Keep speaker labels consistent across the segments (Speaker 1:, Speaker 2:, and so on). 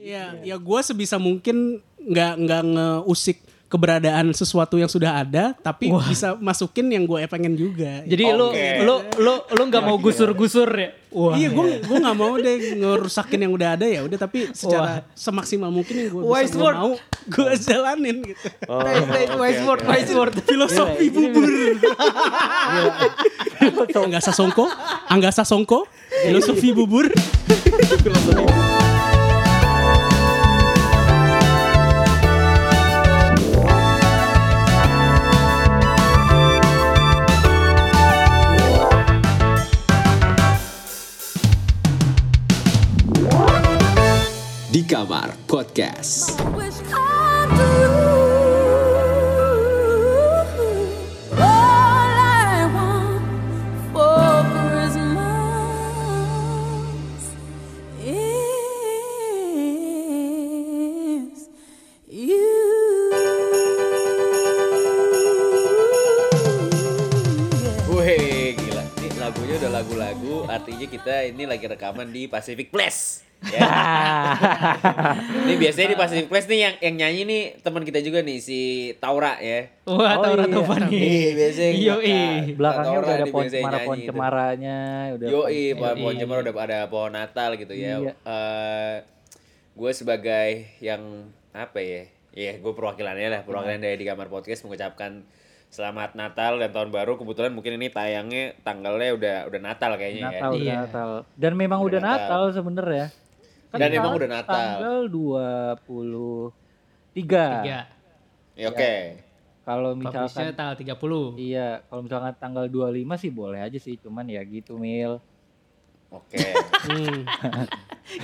Speaker 1: Iya, ya gue sebisa mungkin nggak nggak ngeusik keberadaan sesuatu yang sudah ada, tapi bisa masukin yang gue pengen juga.
Speaker 2: Jadi lu
Speaker 3: Oke.
Speaker 2: lu lu lu nggak mau gusur-gusur ya? Wah.
Speaker 1: iya, gue gue nggak mau deh ngerusakin yang udah ada ya, udah tapi secara semaksimal mungkin yang gue
Speaker 2: Wise
Speaker 1: bisa gua
Speaker 2: word.
Speaker 1: mau gue jalanin gitu.
Speaker 3: Oh,
Speaker 2: Wise
Speaker 3: oke,
Speaker 2: word,
Speaker 3: oke.
Speaker 2: wise word.
Speaker 1: Filosofi
Speaker 2: iya.
Speaker 1: bubur. Angga Sasongko, Angga Sasongko, filosofi bubur.
Speaker 4: di kamar podcast.
Speaker 5: wish I do. All I want for Christmas is you.
Speaker 3: Wih, gila. Ini lagunya udah lagu-lagu, artinya kita ini lagi rekaman di Pacific Place. Ya. ini biasanya di Pacific Place nih yang yang nyanyi nih teman kita juga nih si Taura ya.
Speaker 2: Wah,
Speaker 6: Oh,
Speaker 2: tahu
Speaker 6: iya.
Speaker 2: Ratu Fani.
Speaker 3: Iya, biasanya
Speaker 2: Iya,
Speaker 3: Kak-
Speaker 2: iya.
Speaker 3: Kak
Speaker 6: belakangnya
Speaker 3: Taura
Speaker 6: udah ada
Speaker 3: nih
Speaker 6: pohon
Speaker 3: biasanya
Speaker 6: cemara
Speaker 3: nyanyi
Speaker 6: pohon
Speaker 3: itu.
Speaker 6: cemaranya udah
Speaker 3: Yoi, pohon
Speaker 2: Yoi.
Speaker 3: pohon cemara udah ada pohon Natal gitu ya.
Speaker 6: Iya.
Speaker 3: gue sebagai yang apa ya? Ya, gue perwakilannya lah, perwakilan
Speaker 6: Iya.
Speaker 3: dari di kamar podcast mengucapkan selamat Natal dan tahun baru. Kebetulan mungkin ini tayangnya tanggalnya udah udah Natal kayaknya ya.
Speaker 6: Natal
Speaker 2: Iya.
Speaker 6: udah Natal dan memang
Speaker 3: Udah
Speaker 6: udah
Speaker 3: Natal.
Speaker 6: Natal sebenernya
Speaker 3: Dan
Speaker 6: Kan tanggal-
Speaker 3: emang udah Natal.
Speaker 6: tanggal 23
Speaker 2: Iya.
Speaker 3: Ya, Oke.
Speaker 6: Iya. kalau
Speaker 2: Publishnya
Speaker 6: misalkan
Speaker 2: tanggal 30.
Speaker 6: iya kalau misalkan tanggal 25 sih boleh aja sih cuman ya gitu mil
Speaker 3: Oke.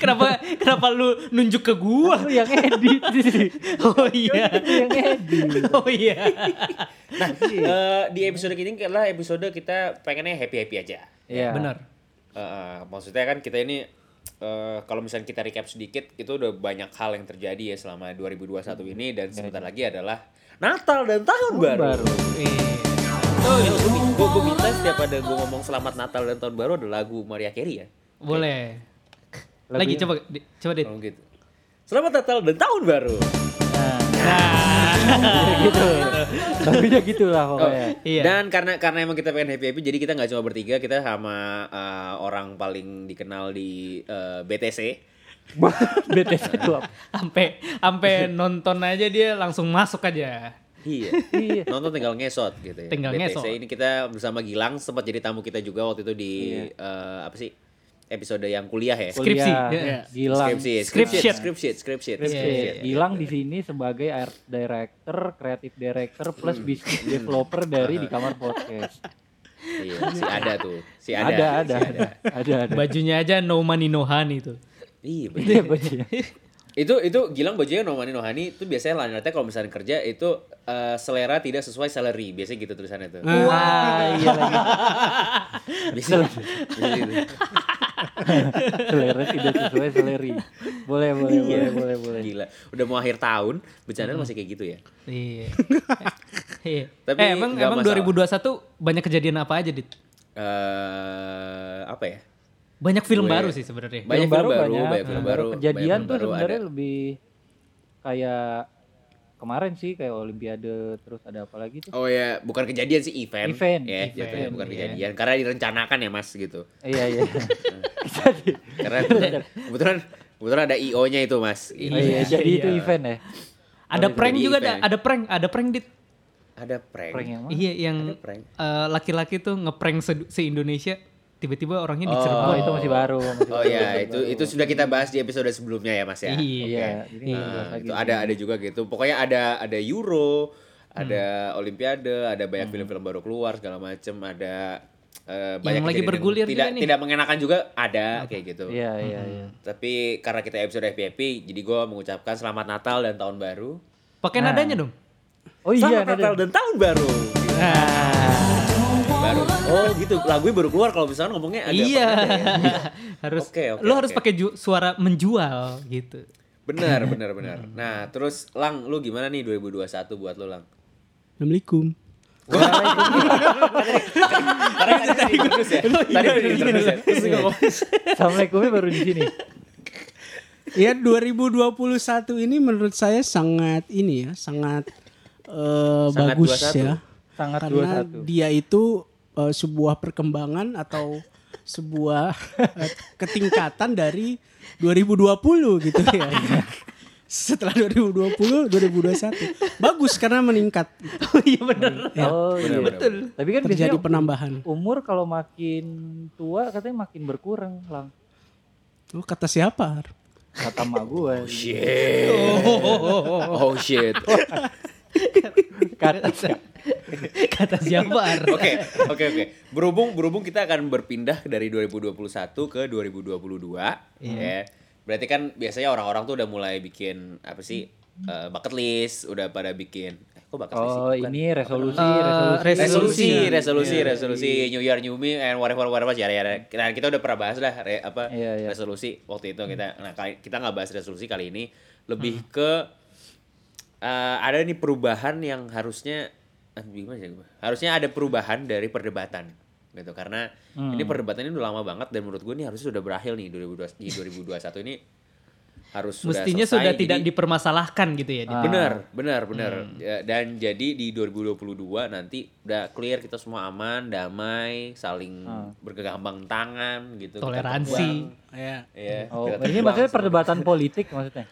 Speaker 2: kenapa kenapa lu nunjuk ke gua?
Speaker 6: lu yang edit sih
Speaker 2: Oh iya.
Speaker 6: Lu yang edit
Speaker 2: Oh iya.
Speaker 6: Iya.
Speaker 3: Eh, di episode ini adalah episode kita pengennya happy-happy aja.
Speaker 6: Iya.
Speaker 2: Benar.
Speaker 3: Eh, eh, maksudnya kan kita ini eh, kalau misalnya kita recap sedikit itu udah banyak hal yang terjadi ya selama 2021 ini dan sebentar lagi adalah Natal dan tahun baru.
Speaker 6: baru
Speaker 2: Iya.
Speaker 3: gue minta setiap ada gue ngomong selamat Natal dan tahun baru ada lagu Maria Carey ya.
Speaker 2: Boleh. Lagi
Speaker 6: Lebih-
Speaker 2: coba di- coba
Speaker 6: Oh.
Speaker 2: deh.
Speaker 3: Kalau gitu. Selamat Natal dan tahun baru.
Speaker 2: Nah,
Speaker 6: gitu lagunya gitulah pokoknya
Speaker 2: Iya.
Speaker 3: Dan karena karena emang kita pengen happy happy, jadi kita nggak cuma bertiga, kita sama eh, orang paling dikenal di eh, BTC.
Speaker 6: BTS itu apa?
Speaker 2: Sampai sampai nonton aja dia langsung masuk aja.
Speaker 3: Iya.
Speaker 6: Iya.
Speaker 3: Nonton tinggal ngesot gitu ya.
Speaker 2: Tinggal
Speaker 3: BTC
Speaker 2: ngesot.
Speaker 3: ini kita bersama Gilang sempat jadi tamu kita juga waktu itu di eh, apa sih episode yang kuliah ya.
Speaker 2: Kuliah. Skripsi,
Speaker 6: Kuliah,
Speaker 2: iya.
Speaker 6: Gilang
Speaker 3: Skripsi,
Speaker 2: Script
Speaker 3: skripsi,
Speaker 2: sheet.
Speaker 3: skripsi, skripsi,
Speaker 2: Iya,
Speaker 6: Oke,
Speaker 2: iya,
Speaker 3: skripsi.
Speaker 6: Gilang di sini sebagai art director, creative director plus business developer dari di kamar podcast.
Speaker 3: Iya, si ada tuh. Si ada. si
Speaker 6: Ada ada ada ada. ada.
Speaker 2: Bajunya aja no money no honey itu.
Speaker 3: Iya, bener.
Speaker 6: Iya, bajunya.
Speaker 3: itu itu Gilang bajunya Nomani Nohani itu biasanya lanjutnya kalau misalnya kerja itu eh, selera tidak sesuai salary biasanya gitu tulisannya tuh
Speaker 2: Nah,
Speaker 6: Wah, iya lagi.
Speaker 3: biasanya, biasanya gitu.
Speaker 6: Selera tidak sesuai seleri. Boleh boleh boleh Iya, boleh boleh.
Speaker 3: gila udah mau akhir tahun bercanda masih kayak gitu ya
Speaker 2: Iya. Iya.
Speaker 3: Tapi
Speaker 2: eh, emang
Speaker 3: nggak
Speaker 2: emang
Speaker 3: masalah.
Speaker 2: 2021 banyak kejadian apa aja, Dit?
Speaker 3: eh apa ya
Speaker 2: Banyak film
Speaker 3: Gue-
Speaker 2: baru sih sebenarnya.
Speaker 3: banyak film baru
Speaker 6: banyak,
Speaker 3: banyak film baru banyak
Speaker 6: Kejadian
Speaker 3: film
Speaker 6: tuh
Speaker 3: baru,
Speaker 6: sebenarnya
Speaker 3: ada.
Speaker 6: lebih kayak kemarin sih kayak Olimpiade terus ada apa lagi tuh?
Speaker 3: oh ya bukan kejadian sih event
Speaker 6: Event,
Speaker 3: ya
Speaker 6: event,
Speaker 3: jatuhnya bukan
Speaker 6: iya.
Speaker 3: kejadian karena direncanakan ya mas gitu
Speaker 6: Iya iya.
Speaker 3: karena kebetulan kebetulan ada io nya itu mas gitu.
Speaker 6: Oh, iya, jadi
Speaker 2: Iya.
Speaker 6: itu event ya.
Speaker 2: Ada
Speaker 3: Jadi
Speaker 2: prank juga ada,
Speaker 3: event.
Speaker 2: ada prank, ada prank Dit.
Speaker 3: ada prank,
Speaker 6: Prank yang mana?
Speaker 2: Iya, yang
Speaker 3: Ada prank.
Speaker 2: eh, laki-laki tuh ngeprank se- se-Indonesia, tiba-tiba orangnya di
Speaker 3: Oh.
Speaker 6: Oh,
Speaker 2: Cirebon.
Speaker 6: itu masih baru. masih
Speaker 3: Oh
Speaker 6: baru.
Speaker 3: iya, itu itu sudah kita bahas di episode sebelumnya ya Mas ya.
Speaker 2: Iya.
Speaker 3: Oke.
Speaker 6: Iya, jadi
Speaker 3: Nah,
Speaker 6: nggak bahas lagi
Speaker 3: itu
Speaker 6: di
Speaker 3: ada
Speaker 6: sini.
Speaker 3: ada juga gitu. Pokoknya ada ada Euro, ada
Speaker 6: Hmm.
Speaker 3: Olimpiade, ada banyak film-film baru keluar segala macem ada eh, banyak
Speaker 2: lagi
Speaker 3: kejadian
Speaker 2: bergulir juga
Speaker 3: tidak
Speaker 2: nih.
Speaker 3: tidak mengenakan juga ada kayak gitu.
Speaker 6: Iya iya iya.
Speaker 3: Tapi karena kita episode FPP, jadi gue mengucapkan selamat Natal dan tahun baru.
Speaker 2: Pakai
Speaker 3: Nah.
Speaker 2: nadanya dong.
Speaker 6: Oh iya,
Speaker 3: selamat Natal
Speaker 6: ada.
Speaker 3: dan tahun baru. Gitu.
Speaker 2: Nah,
Speaker 3: Baru. Oh gitu, lagunya baru keluar kalau misalnya ngomongnya agak
Speaker 2: iya.
Speaker 3: pelan ya.
Speaker 2: harus
Speaker 3: Oke, oke,
Speaker 2: lu harus
Speaker 3: oke.
Speaker 2: pakai ju- suara menjual gitu.
Speaker 3: Benar, benar, benar. Nah, terus Lang, lu gimana nih 2021 buat lu, Lang?
Speaker 1: Assalamualaikum.
Speaker 3: Karena tadi tadi ya. terus ya. Tadi tadi terus ya. Terus gua ngomong,
Speaker 6: Assalamualaikumnya baru di sini.
Speaker 1: Ya 2021 ini menurut saya sangat ini ya, sangat eh,
Speaker 3: Sangat
Speaker 1: bagus
Speaker 3: 21.
Speaker 1: ya.
Speaker 6: Sangat
Speaker 1: Karena
Speaker 6: 21.
Speaker 1: dia itu eh, sebuah perkembangan atau sebuah eh, ketingkatan dari 2020 gitu ya. Setelah 2020, 2021. Bagus karena meningkat.
Speaker 2: oh iya bener.
Speaker 1: Ya,
Speaker 6: Oh iya.
Speaker 3: Betul.
Speaker 6: Tapi kan
Speaker 1: terjadi
Speaker 6: biasanya
Speaker 1: penambahan.
Speaker 6: umur kalau makin tua katanya makin berkurang lang.
Speaker 1: Oh, kata siapa? Har?
Speaker 6: Kata mak gue.
Speaker 3: iya. Shit. Oh shit.
Speaker 6: Kata
Speaker 2: Kata siapa?
Speaker 3: Oke, oke, oke. Berhubung berhubung kita akan berpindah dari 2021 ke 2022, ya. Berarti kan biasanya orang-orang tuh udah mulai bikin apa sih? eh, bucket list, udah pada bikin. Eh, kok bucket list sih?
Speaker 6: Oh
Speaker 3: Bukan.
Speaker 6: ini resolusi,
Speaker 2: Eh,
Speaker 6: resolusi.
Speaker 3: resolusi, resolusi, resolusi, New Year, New Me, and whatever, whatever, ya, ya. Nah, kita udah pernah bahas lah re- apa
Speaker 6: Iya, iya.
Speaker 3: resolusi waktu itu kita. Nah, kali, kita nggak bahas resolusi kali ini, lebih ke eh, ada nih perubahan yang harusnya ah, gimana sih gua? harusnya ada perubahan dari perdebatan gitu karena ini perdebatan ini udah lama banget dan menurut gue ini harusnya sudah berakhir nih 2020 di 2021 ini harus sudah
Speaker 2: Mestinya
Speaker 3: selesai,
Speaker 2: sudah tidak
Speaker 3: jadi- Oh,
Speaker 2: dipermasalahkan gitu ya.
Speaker 6: Ah.
Speaker 2: di-
Speaker 3: Benar, benar, benar.
Speaker 6: Hmm.
Speaker 3: Ya, Dan jadi di 2022 nanti udah clear kita semua aman, damai, saling
Speaker 6: Ah.
Speaker 3: bergegambang tangan gitu. Kita
Speaker 2: Toleransi.
Speaker 3: terbang.
Speaker 1: Ya.
Speaker 3: Iya.
Speaker 6: Oh,
Speaker 3: kita
Speaker 6: ini
Speaker 3: terbang
Speaker 6: maksudnya
Speaker 3: semua.
Speaker 6: perdebatan politik maksudnya.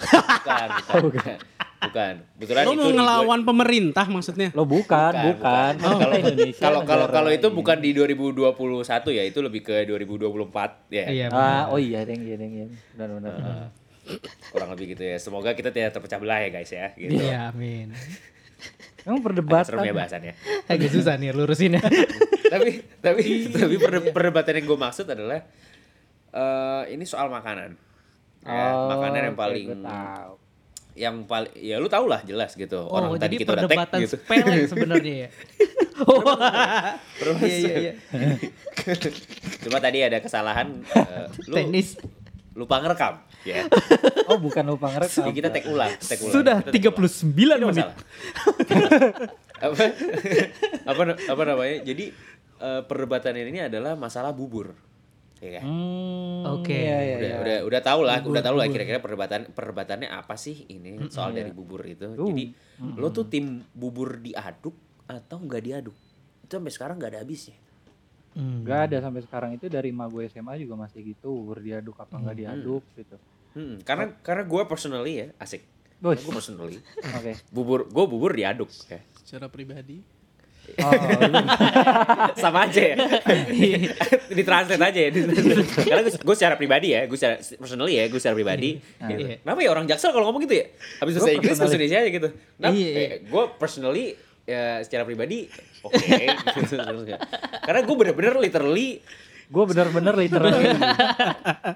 Speaker 3: Bukan, bukan. bukan. bukan. Kebetulan
Speaker 1: Lo
Speaker 3: itu
Speaker 1: mau
Speaker 3: di-
Speaker 1: ngelawan pemerintah maksudnya?
Speaker 6: Lo
Speaker 3: Bukan,
Speaker 6: bukan, bukan.
Speaker 3: bukan.
Speaker 6: Kita
Speaker 3: Kalau-
Speaker 6: Indonesia
Speaker 3: Kalau kalau
Speaker 6: negara
Speaker 3: kalau itu
Speaker 6: ini.
Speaker 3: bukan di 2021 ya, itu lebih ke 2024 ya.
Speaker 2: Iya.
Speaker 6: Ah, oh iya, deng, iya, deng, iya. Benar-benar.
Speaker 3: Kurang lebih gitu ya. Semoga kita tidak terpecah belah ya guys ya. Gitu.
Speaker 2: Iya, amin.
Speaker 6: Emang
Speaker 3: Agak
Speaker 6: perdebatan.
Speaker 3: Serem ya bahasannya.
Speaker 2: Agak susah nih lurusin ya.
Speaker 3: tapi tapi
Speaker 2: Iya.
Speaker 3: tapi perde- perdebatan yang gue maksud adalah eh ini soal makanan Ya,
Speaker 6: Oh,
Speaker 3: makanan yang
Speaker 6: oke,
Speaker 3: paling
Speaker 6: gua tahu.
Speaker 3: yang paling ya lu tau lah jelas gitu
Speaker 2: Oh,
Speaker 3: orang
Speaker 2: jadi
Speaker 3: tadi kita udah tag
Speaker 2: perdebatan
Speaker 3: gitu
Speaker 2: sepele sebenarnya ya. Oh, iya, iya, iya.
Speaker 3: cuma tadi ada kesalahan eh, lu
Speaker 2: Teknis.
Speaker 3: lupa ngerekam ya
Speaker 6: Oh, bukan lupa ngerekam.
Speaker 3: jadi kita tag ulang tag ulang
Speaker 2: Sudah
Speaker 3: Kita tag
Speaker 2: 39
Speaker 3: ulang.
Speaker 2: menit.
Speaker 3: Tidak masalah. apa apa apa namanya jadi eh, perdebatan ini adalah masalah bubur ya kan?
Speaker 6: Hmm,
Speaker 2: Oke.
Speaker 6: Iya, iya,
Speaker 3: udah
Speaker 6: iya.
Speaker 3: udah udah tau lah udah tau lah kira-kira perdebatan perdebatannya apa sih ini soal
Speaker 6: Iya.
Speaker 3: dari bubur itu jadi lo tuh tim bubur diaduk atau nggak diaduk itu sampai sekarang nggak ada habisnya
Speaker 2: Hmm.
Speaker 6: Gak ada sampai sekarang itu dari ma gue SMA juga masih gitu, bubur diaduk apa nggak diaduk gitu.
Speaker 3: Hmm, karena karena gue personally ya asik
Speaker 6: Bos.
Speaker 3: gue personally
Speaker 6: Oke.
Speaker 3: bubur gue bubur diaduk ya.
Speaker 1: Secara pribadi.
Speaker 6: Oh, iya.
Speaker 3: sama aja ya ditranslate aja ya ditranslate. karena gue secara pribadi ya gue secara personally ya gue secara pribadi gitu.
Speaker 2: Iya.
Speaker 3: kenapa ya orang jaksel kalau ngomong gitu ya habis bahasa Inggris bahasa Indonesia aja gitu nah
Speaker 2: Iya, iya.
Speaker 3: gue personally ya, secara pribadi oke gitu. karena gue bener-bener literally
Speaker 6: gue bener-bener literally.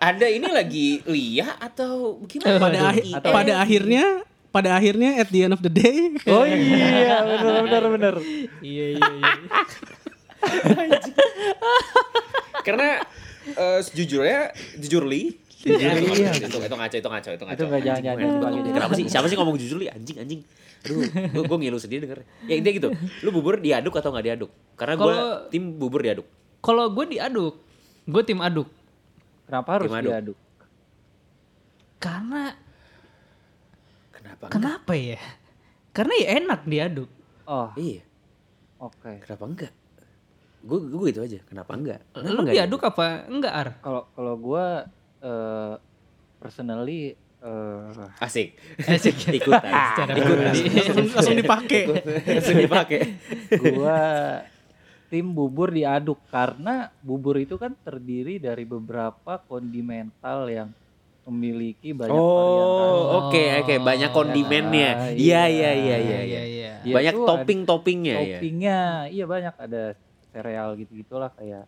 Speaker 3: anda ini lagi liah atau gimana
Speaker 1: Pada akhir-
Speaker 3: Atau-
Speaker 1: pada akhirnya pada akhirnya at the end of the day
Speaker 6: oh iya, bener-bener bener.
Speaker 2: Iya, iya, iya.
Speaker 3: karena eh, sejujurnya jujurly Jujurly,
Speaker 6: Iya.
Speaker 3: itu itu ngaco itu ngaco itu ngaco
Speaker 6: Itu nggak
Speaker 3: Anjing,
Speaker 6: jangan-jangan,
Speaker 3: anjing,
Speaker 6: itu
Speaker 3: anjing.
Speaker 6: nggak
Speaker 3: kenapa sih siapa sih ngomong jujurly anjing anjing aduh gue gue ngilu sendiri denger ya intinya gitu lu bubur diaduk atau nggak diaduk karena gue
Speaker 2: Kalau-
Speaker 3: tim bubur diaduk
Speaker 2: Kalau gue diaduk, gue tim aduk.
Speaker 6: Kenapa harus
Speaker 3: Gimana, Dok?
Speaker 6: diaduk?
Speaker 2: Karena
Speaker 3: kenapa enggak
Speaker 2: kenapa ya? Karena ya enak diaduk.
Speaker 6: Oh,
Speaker 3: iya
Speaker 6: oke.
Speaker 3: kenapa enggak gue gue gitu aja kenapa enggak kenapa
Speaker 2: Lu
Speaker 3: enggak
Speaker 2: diaduk apa enggak, Ar?
Speaker 6: Kalau kalau gue eh personally eh
Speaker 3: diaduk? asik
Speaker 2: Asik.
Speaker 3: ikutan
Speaker 2: Secara
Speaker 3: ikutan
Speaker 2: pribadi.
Speaker 1: langsung, langsung dipakai.
Speaker 3: langsung dipakai
Speaker 6: gue tim bubur diaduk karena bubur itu kan terdiri dari beberapa kondimental yang memiliki banyak varian rasa.
Speaker 3: oh oke oke banyak kondimennya iya iya iya iya iya
Speaker 2: iya.
Speaker 6: Iya,
Speaker 3: banyak
Speaker 6: tuh ada
Speaker 3: topping-toppingnya ya.
Speaker 6: Toppingnya, iya banyak ada sereal gitu-gitulah kayak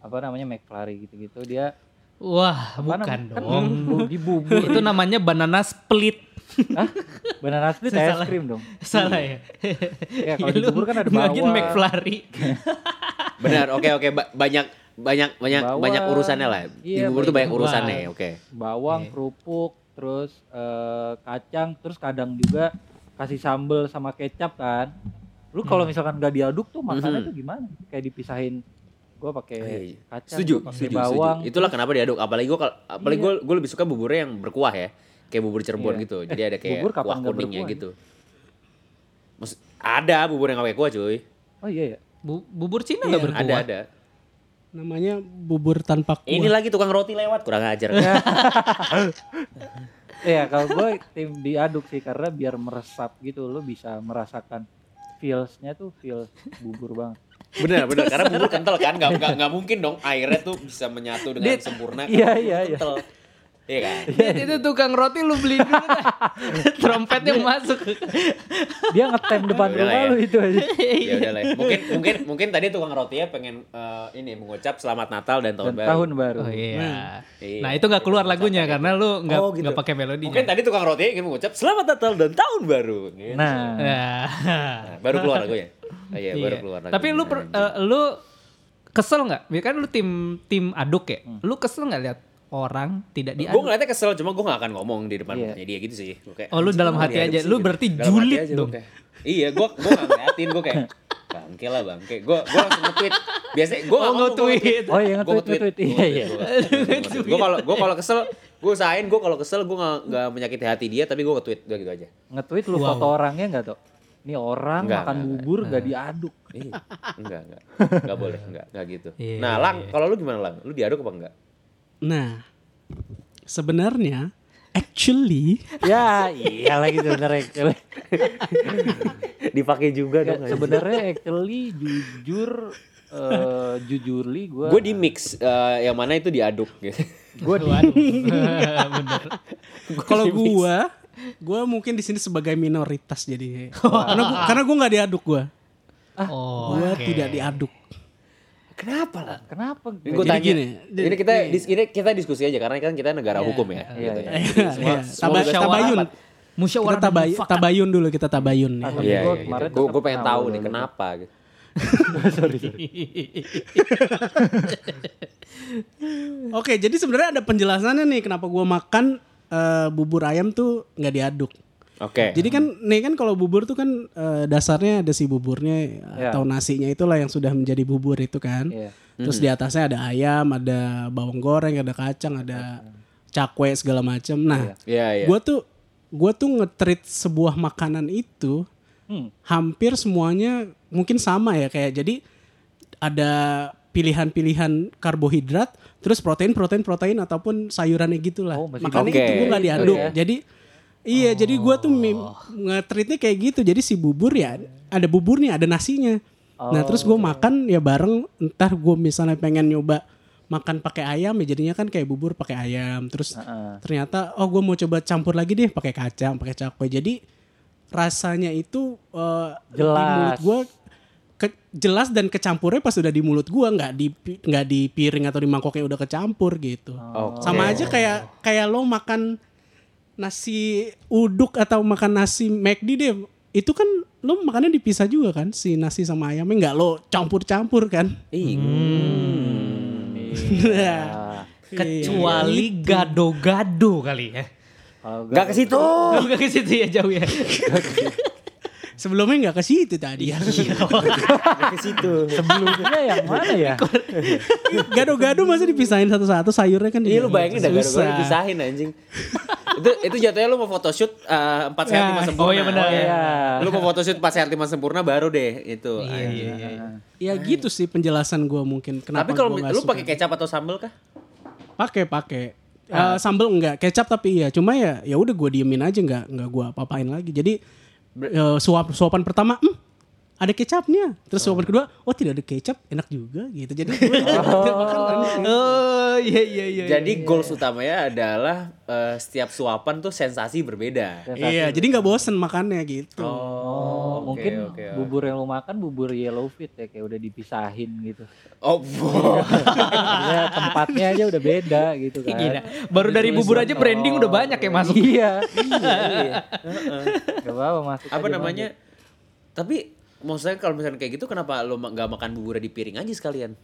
Speaker 6: apa namanya McFlurry gitu-gitu dia
Speaker 2: Wah,
Speaker 6: apa
Speaker 2: bukan
Speaker 6: namanya? kan
Speaker 2: dong.
Speaker 6: bu- di bubur
Speaker 2: Itu namanya banana split.
Speaker 6: Hah? banana split es
Speaker 2: Salah.
Speaker 6: krim dong
Speaker 2: Salah
Speaker 3: Iya.
Speaker 2: ya.
Speaker 6: Ya, kalau di
Speaker 2: lu
Speaker 6: bubur kan ada
Speaker 2: bilangin
Speaker 6: bawang.
Speaker 2: McFlurry.
Speaker 3: Benar, oke oke Ba- banyak banyak banyak
Speaker 6: Bawang.
Speaker 3: banyak urusannya lah. Di
Speaker 6: Iya,
Speaker 3: bubur tuh banyak
Speaker 2: banyak
Speaker 3: urusannya,
Speaker 2: bawang.
Speaker 3: oke.
Speaker 6: bawang
Speaker 2: Oke.
Speaker 6: kerupuk terus eh, kacang terus kadang juga kasih sambel
Speaker 3: Hmm.
Speaker 6: sama kecap kan lu kalau misalkan nggak diaduk tuh makannya
Speaker 3: Mhm.
Speaker 6: tuh gimana kayak dipisahin Gue pakai
Speaker 3: Iya, iya.
Speaker 6: kacang,
Speaker 3: setuju,
Speaker 6: gua pakai
Speaker 3: setuju,
Speaker 6: bawang.
Speaker 3: setuju. Itulah kenapa diaduk. Apalagi gue apalagi gua gua lebih suka buburnya yang berkuah ya. Kayak bubur Cirebon
Speaker 6: Iya.
Speaker 3: gitu. Jadi ada kayak
Speaker 6: bubur kapan
Speaker 3: kuah
Speaker 6: nggak
Speaker 3: kuningnya
Speaker 6: berkuah,
Speaker 3: gitu. Maksud, ada bubur yang nggak pakai kuah, cuy.
Speaker 6: Oh iya ya.
Speaker 2: Bu- bubur Cina nggak berkuah.
Speaker 3: Iya, Ada, ada.
Speaker 1: Namanya bubur tanpa kuah.
Speaker 3: Ini lagi tukang roti lewat, kurang ajar.
Speaker 6: Iya, kalau gue tim diaduk sih karena biar meresap gitu lo bisa merasakan feels-nya tuh feels bubur banget.
Speaker 3: bener, bener. Karena bubur kental kan, nggak nggak nggak mungkin dong airnya tuh bisa menyatu dengan sempurna. kan.
Speaker 6: Iya, iya, iya.
Speaker 3: Kental. Iya kan?
Speaker 2: Dia- Itu tukang roti lu beli dulu dah. Trompetnya
Speaker 3: Iya.
Speaker 2: masuk.
Speaker 6: Dia ngetem depan
Speaker 3: Udah lah
Speaker 6: rumah
Speaker 3: ya.
Speaker 6: lu itu aja.
Speaker 3: Ya udah lah. ya. Mungkin
Speaker 2: Iya.
Speaker 3: mungkin mungkin tadi tukang rotinya pengen eh, ini mengucap selamat Natal dan tahun
Speaker 6: Dan
Speaker 3: baru.
Speaker 6: tahun baru.
Speaker 2: Oh iya.
Speaker 3: Iya.
Speaker 2: Nah, itu nggak keluar lagunya karena lu nggak
Speaker 3: Oh,
Speaker 2: nggak
Speaker 3: gitu.
Speaker 2: pakai melodinya.
Speaker 3: Mungkin tadi tukang roti ingin mengucap selamat Natal dan tahun baru. Gitu.
Speaker 6: Nah,
Speaker 2: Nah.
Speaker 3: Nah, baru keluar lagunya. Ah, iya, baru
Speaker 2: Iya.
Speaker 3: keluar lagunya.
Speaker 2: Tapi lu per- eh, lu kesel nggak? Ya kan lu tim tim aduk ya.
Speaker 3: Hmm.
Speaker 2: Lu kesel nggak lihat orang tidak
Speaker 3: Gue
Speaker 2: diaduk?
Speaker 3: ngeliatnya kesel, cuma gue gak akan ngomong di depan
Speaker 6: Iya.
Speaker 3: mukanya dia gitu sih. Gua
Speaker 2: anu-
Speaker 3: kayak,
Speaker 2: Oh, lu
Speaker 3: "Anjing,
Speaker 2: dalam
Speaker 3: kenapa
Speaker 2: hati
Speaker 3: diaduk
Speaker 2: aja.
Speaker 3: sih?"
Speaker 2: Lu
Speaker 3: gitu.
Speaker 2: berarti
Speaker 3: Dalam hati
Speaker 2: julid
Speaker 3: aja gua
Speaker 2: dong.
Speaker 3: kayak, Iya, gue gue gak ngeliatin, gue kayak bangke lah bangke. Gue gue langsung nge-tweet. Biasanya gue
Speaker 2: Oh, nge-tweet.
Speaker 6: Oh, iya, nge-tweet, nge-tweet. Iya, iya.
Speaker 3: Gue kalau gue kalau kesel, gue usahain gue kalau kesel gue gak, nggak menyakiti hati dia, tapi gue nge-tweet udah gitu aja.
Speaker 6: nge-tweet lu
Speaker 2: Wow.
Speaker 6: foto orangnya enggak tuh? Ini orang
Speaker 3: Nggak,
Speaker 6: makan
Speaker 3: nggak, Iya.
Speaker 6: bubur gak diaduk.
Speaker 3: Ih, enggak, enggak. Enggak boleh, enggak, enggak gitu.
Speaker 2: Iya,
Speaker 3: Nah, Lang, kalau lu gimana, Lang? Lu diaduk apa enggak?
Speaker 1: Nah, sebenarnya actually
Speaker 6: Ya, iya lagi sebenarnya. actually.
Speaker 3: Dipakai juga
Speaker 6: Nggak, sebenarnya actually jujur eh jujurly gue
Speaker 3: Gue di mix eh, yang mana itu diaduk gitu.
Speaker 2: Gua Waduh. Bener.
Speaker 1: kalau gua gua mungkin di sini sebagai minoritas jadinya. karena gua, karena gua nggak diaduk gua.
Speaker 3: Ah,
Speaker 2: Oh,
Speaker 1: Gua
Speaker 2: oke.
Speaker 1: tidak diaduk.
Speaker 3: Kenapa lah?
Speaker 6: kenapa
Speaker 3: Ini gue
Speaker 1: Jadi
Speaker 3: tanya.
Speaker 1: gini,
Speaker 3: ini kita dis- ini kita diskusi aja karena kan kita negara hukum ya.
Speaker 6: Iya,
Speaker 3: gitu.
Speaker 6: iya.
Speaker 1: Iya, taba-
Speaker 3: juga
Speaker 1: tabayun.
Speaker 3: sepakat.
Speaker 1: Kita
Speaker 2: Musyawarah
Speaker 1: tabay-
Speaker 2: mufakat.
Speaker 1: tabayun dulu kita tabayun nih.
Speaker 6: Tapi
Speaker 3: Iya,
Speaker 6: gua
Speaker 3: iya.
Speaker 6: kemarin
Speaker 3: Gue
Speaker 6: tetap
Speaker 3: pengen
Speaker 6: tahu
Speaker 3: tahu
Speaker 6: loh
Speaker 3: nih
Speaker 6: itu.
Speaker 3: kenapa gitu.
Speaker 1: Oke, jadi sebenarnya ada penjelasannya nih kenapa gua makan eh, bubur ayam tuh nggak diaduk.
Speaker 3: Oke.
Speaker 1: Jadi kan nih kan kalau bubur tuh kan eh, dasarnya ada si buburnya
Speaker 6: Ya.
Speaker 1: atau nasinya itulah yang sudah menjadi bubur itu kan.
Speaker 6: Iya.
Speaker 1: Terus di atasnya ada ayam, ada bawang goreng, ada kacang, ada cakwe segala macam. Nah,
Speaker 3: Iya, iya.
Speaker 1: gue tuh gue tuh ngetrit sebuah makanan itu
Speaker 6: Hmm.
Speaker 1: hampir semuanya mungkin sama ya kayak jadi ada pilihan-pilihan karbohidrat, terus protein, protein, protein ataupun sayurannya gitulah.
Speaker 6: Oh, masih
Speaker 1: Makanya
Speaker 3: oke.
Speaker 1: itu gue nggak diaduk.
Speaker 6: Gitu ya.
Speaker 1: Jadi iya, jadi gue tuh mim- nge-treatnya kayak gitu. Jadi si bubur ya ada buburnya, ada nasinya. Nah terus gue makan ya bareng. Entar gue misalnya pengen nyoba makan pakai ayam ya jadinya kan kayak bubur pakai ayam. Terus ternyata oh gue mau coba campur lagi deh pakai kacang, pakai cakwe. Jadi rasanya itu eh, di mulut
Speaker 6: Jelas.
Speaker 1: gue ke- jelas dan kecampurnya pas udah di mulut gua nggak di pi- nggak di piring atau di mangkoknya udah kecampur gitu
Speaker 3: Oh. Oke.
Speaker 1: sama aja kayak kayak lo makan nasi uduk atau makan nasi McD deh itu kan lo makannya dipisah juga kan si nasi sama ayamnya nggak lo campur-campur kan Ya.
Speaker 3: Ih, iya.
Speaker 2: Kecuali gado-gado kali ya.
Speaker 6: Kalau gua-
Speaker 3: Gak ke situ.
Speaker 2: Oh, nggak ke situ ya jauh ya.
Speaker 1: sebelumnya nggak ke situ tadi ya
Speaker 3: Iya. Gak ke situ.
Speaker 6: sebelumnya yang mana ya?
Speaker 1: gado-gado masa dipisahin satu-satu sayurnya kan
Speaker 3: Iya
Speaker 1: dipisahin.
Speaker 3: lu bayangin dah gara-gara
Speaker 1: Susah.
Speaker 3: dipisahin anjing. itu itu jatuhnya lu mau photoshoot eh, empat sehat lima
Speaker 1: Ya.
Speaker 3: sempurna.
Speaker 2: Oh, iya benar.
Speaker 6: Iya.
Speaker 3: Lu mau photoshoot empat sehat lima sempurna baru deh itu.
Speaker 2: Iya. Ah,
Speaker 3: anjing.
Speaker 1: ya gitu sih penjelasan gua mungkin kenapa
Speaker 3: Tapi kalau
Speaker 1: gua nggak
Speaker 3: lu
Speaker 1: suka.
Speaker 3: pakai kecap atau sambal kah?
Speaker 1: Pakai pakai. Eh, sambel enggak, kecap tapi iya. Cuma ya ya udah gue diemin aja enggak enggak gue apa-apain lagi. Jadi eh, suap suapan pertama hmm, ada kecapnya. Terus suapan kedua, oh tidak ada kecap, enak juga gitu. Jadi gue
Speaker 2: Oh, iya iya iya.
Speaker 3: Jadi goals utamanya adalah eh, setiap suapan tuh sensasi berbeda.
Speaker 1: Iya, jadi nggak bosen makannya gitu.
Speaker 3: Oh,
Speaker 6: Mungkin bubur yang lu makan bubur yellowfit ya kayak udah dipisahin gitu.
Speaker 3: Oh, bo-
Speaker 6: Iya, tempatnya aja udah beda gitu kan.
Speaker 2: Gila. Baru dari bubur aja branding udah banyak ya, yang masuk.
Speaker 6: Iya. Gak apa-apa masuk.
Speaker 3: apa
Speaker 6: aja,
Speaker 3: namanya? Tapi maksudnya kalau misalnya kayak gitu kenapa lo ma- nggak makan buburnya di piring aja sekalian?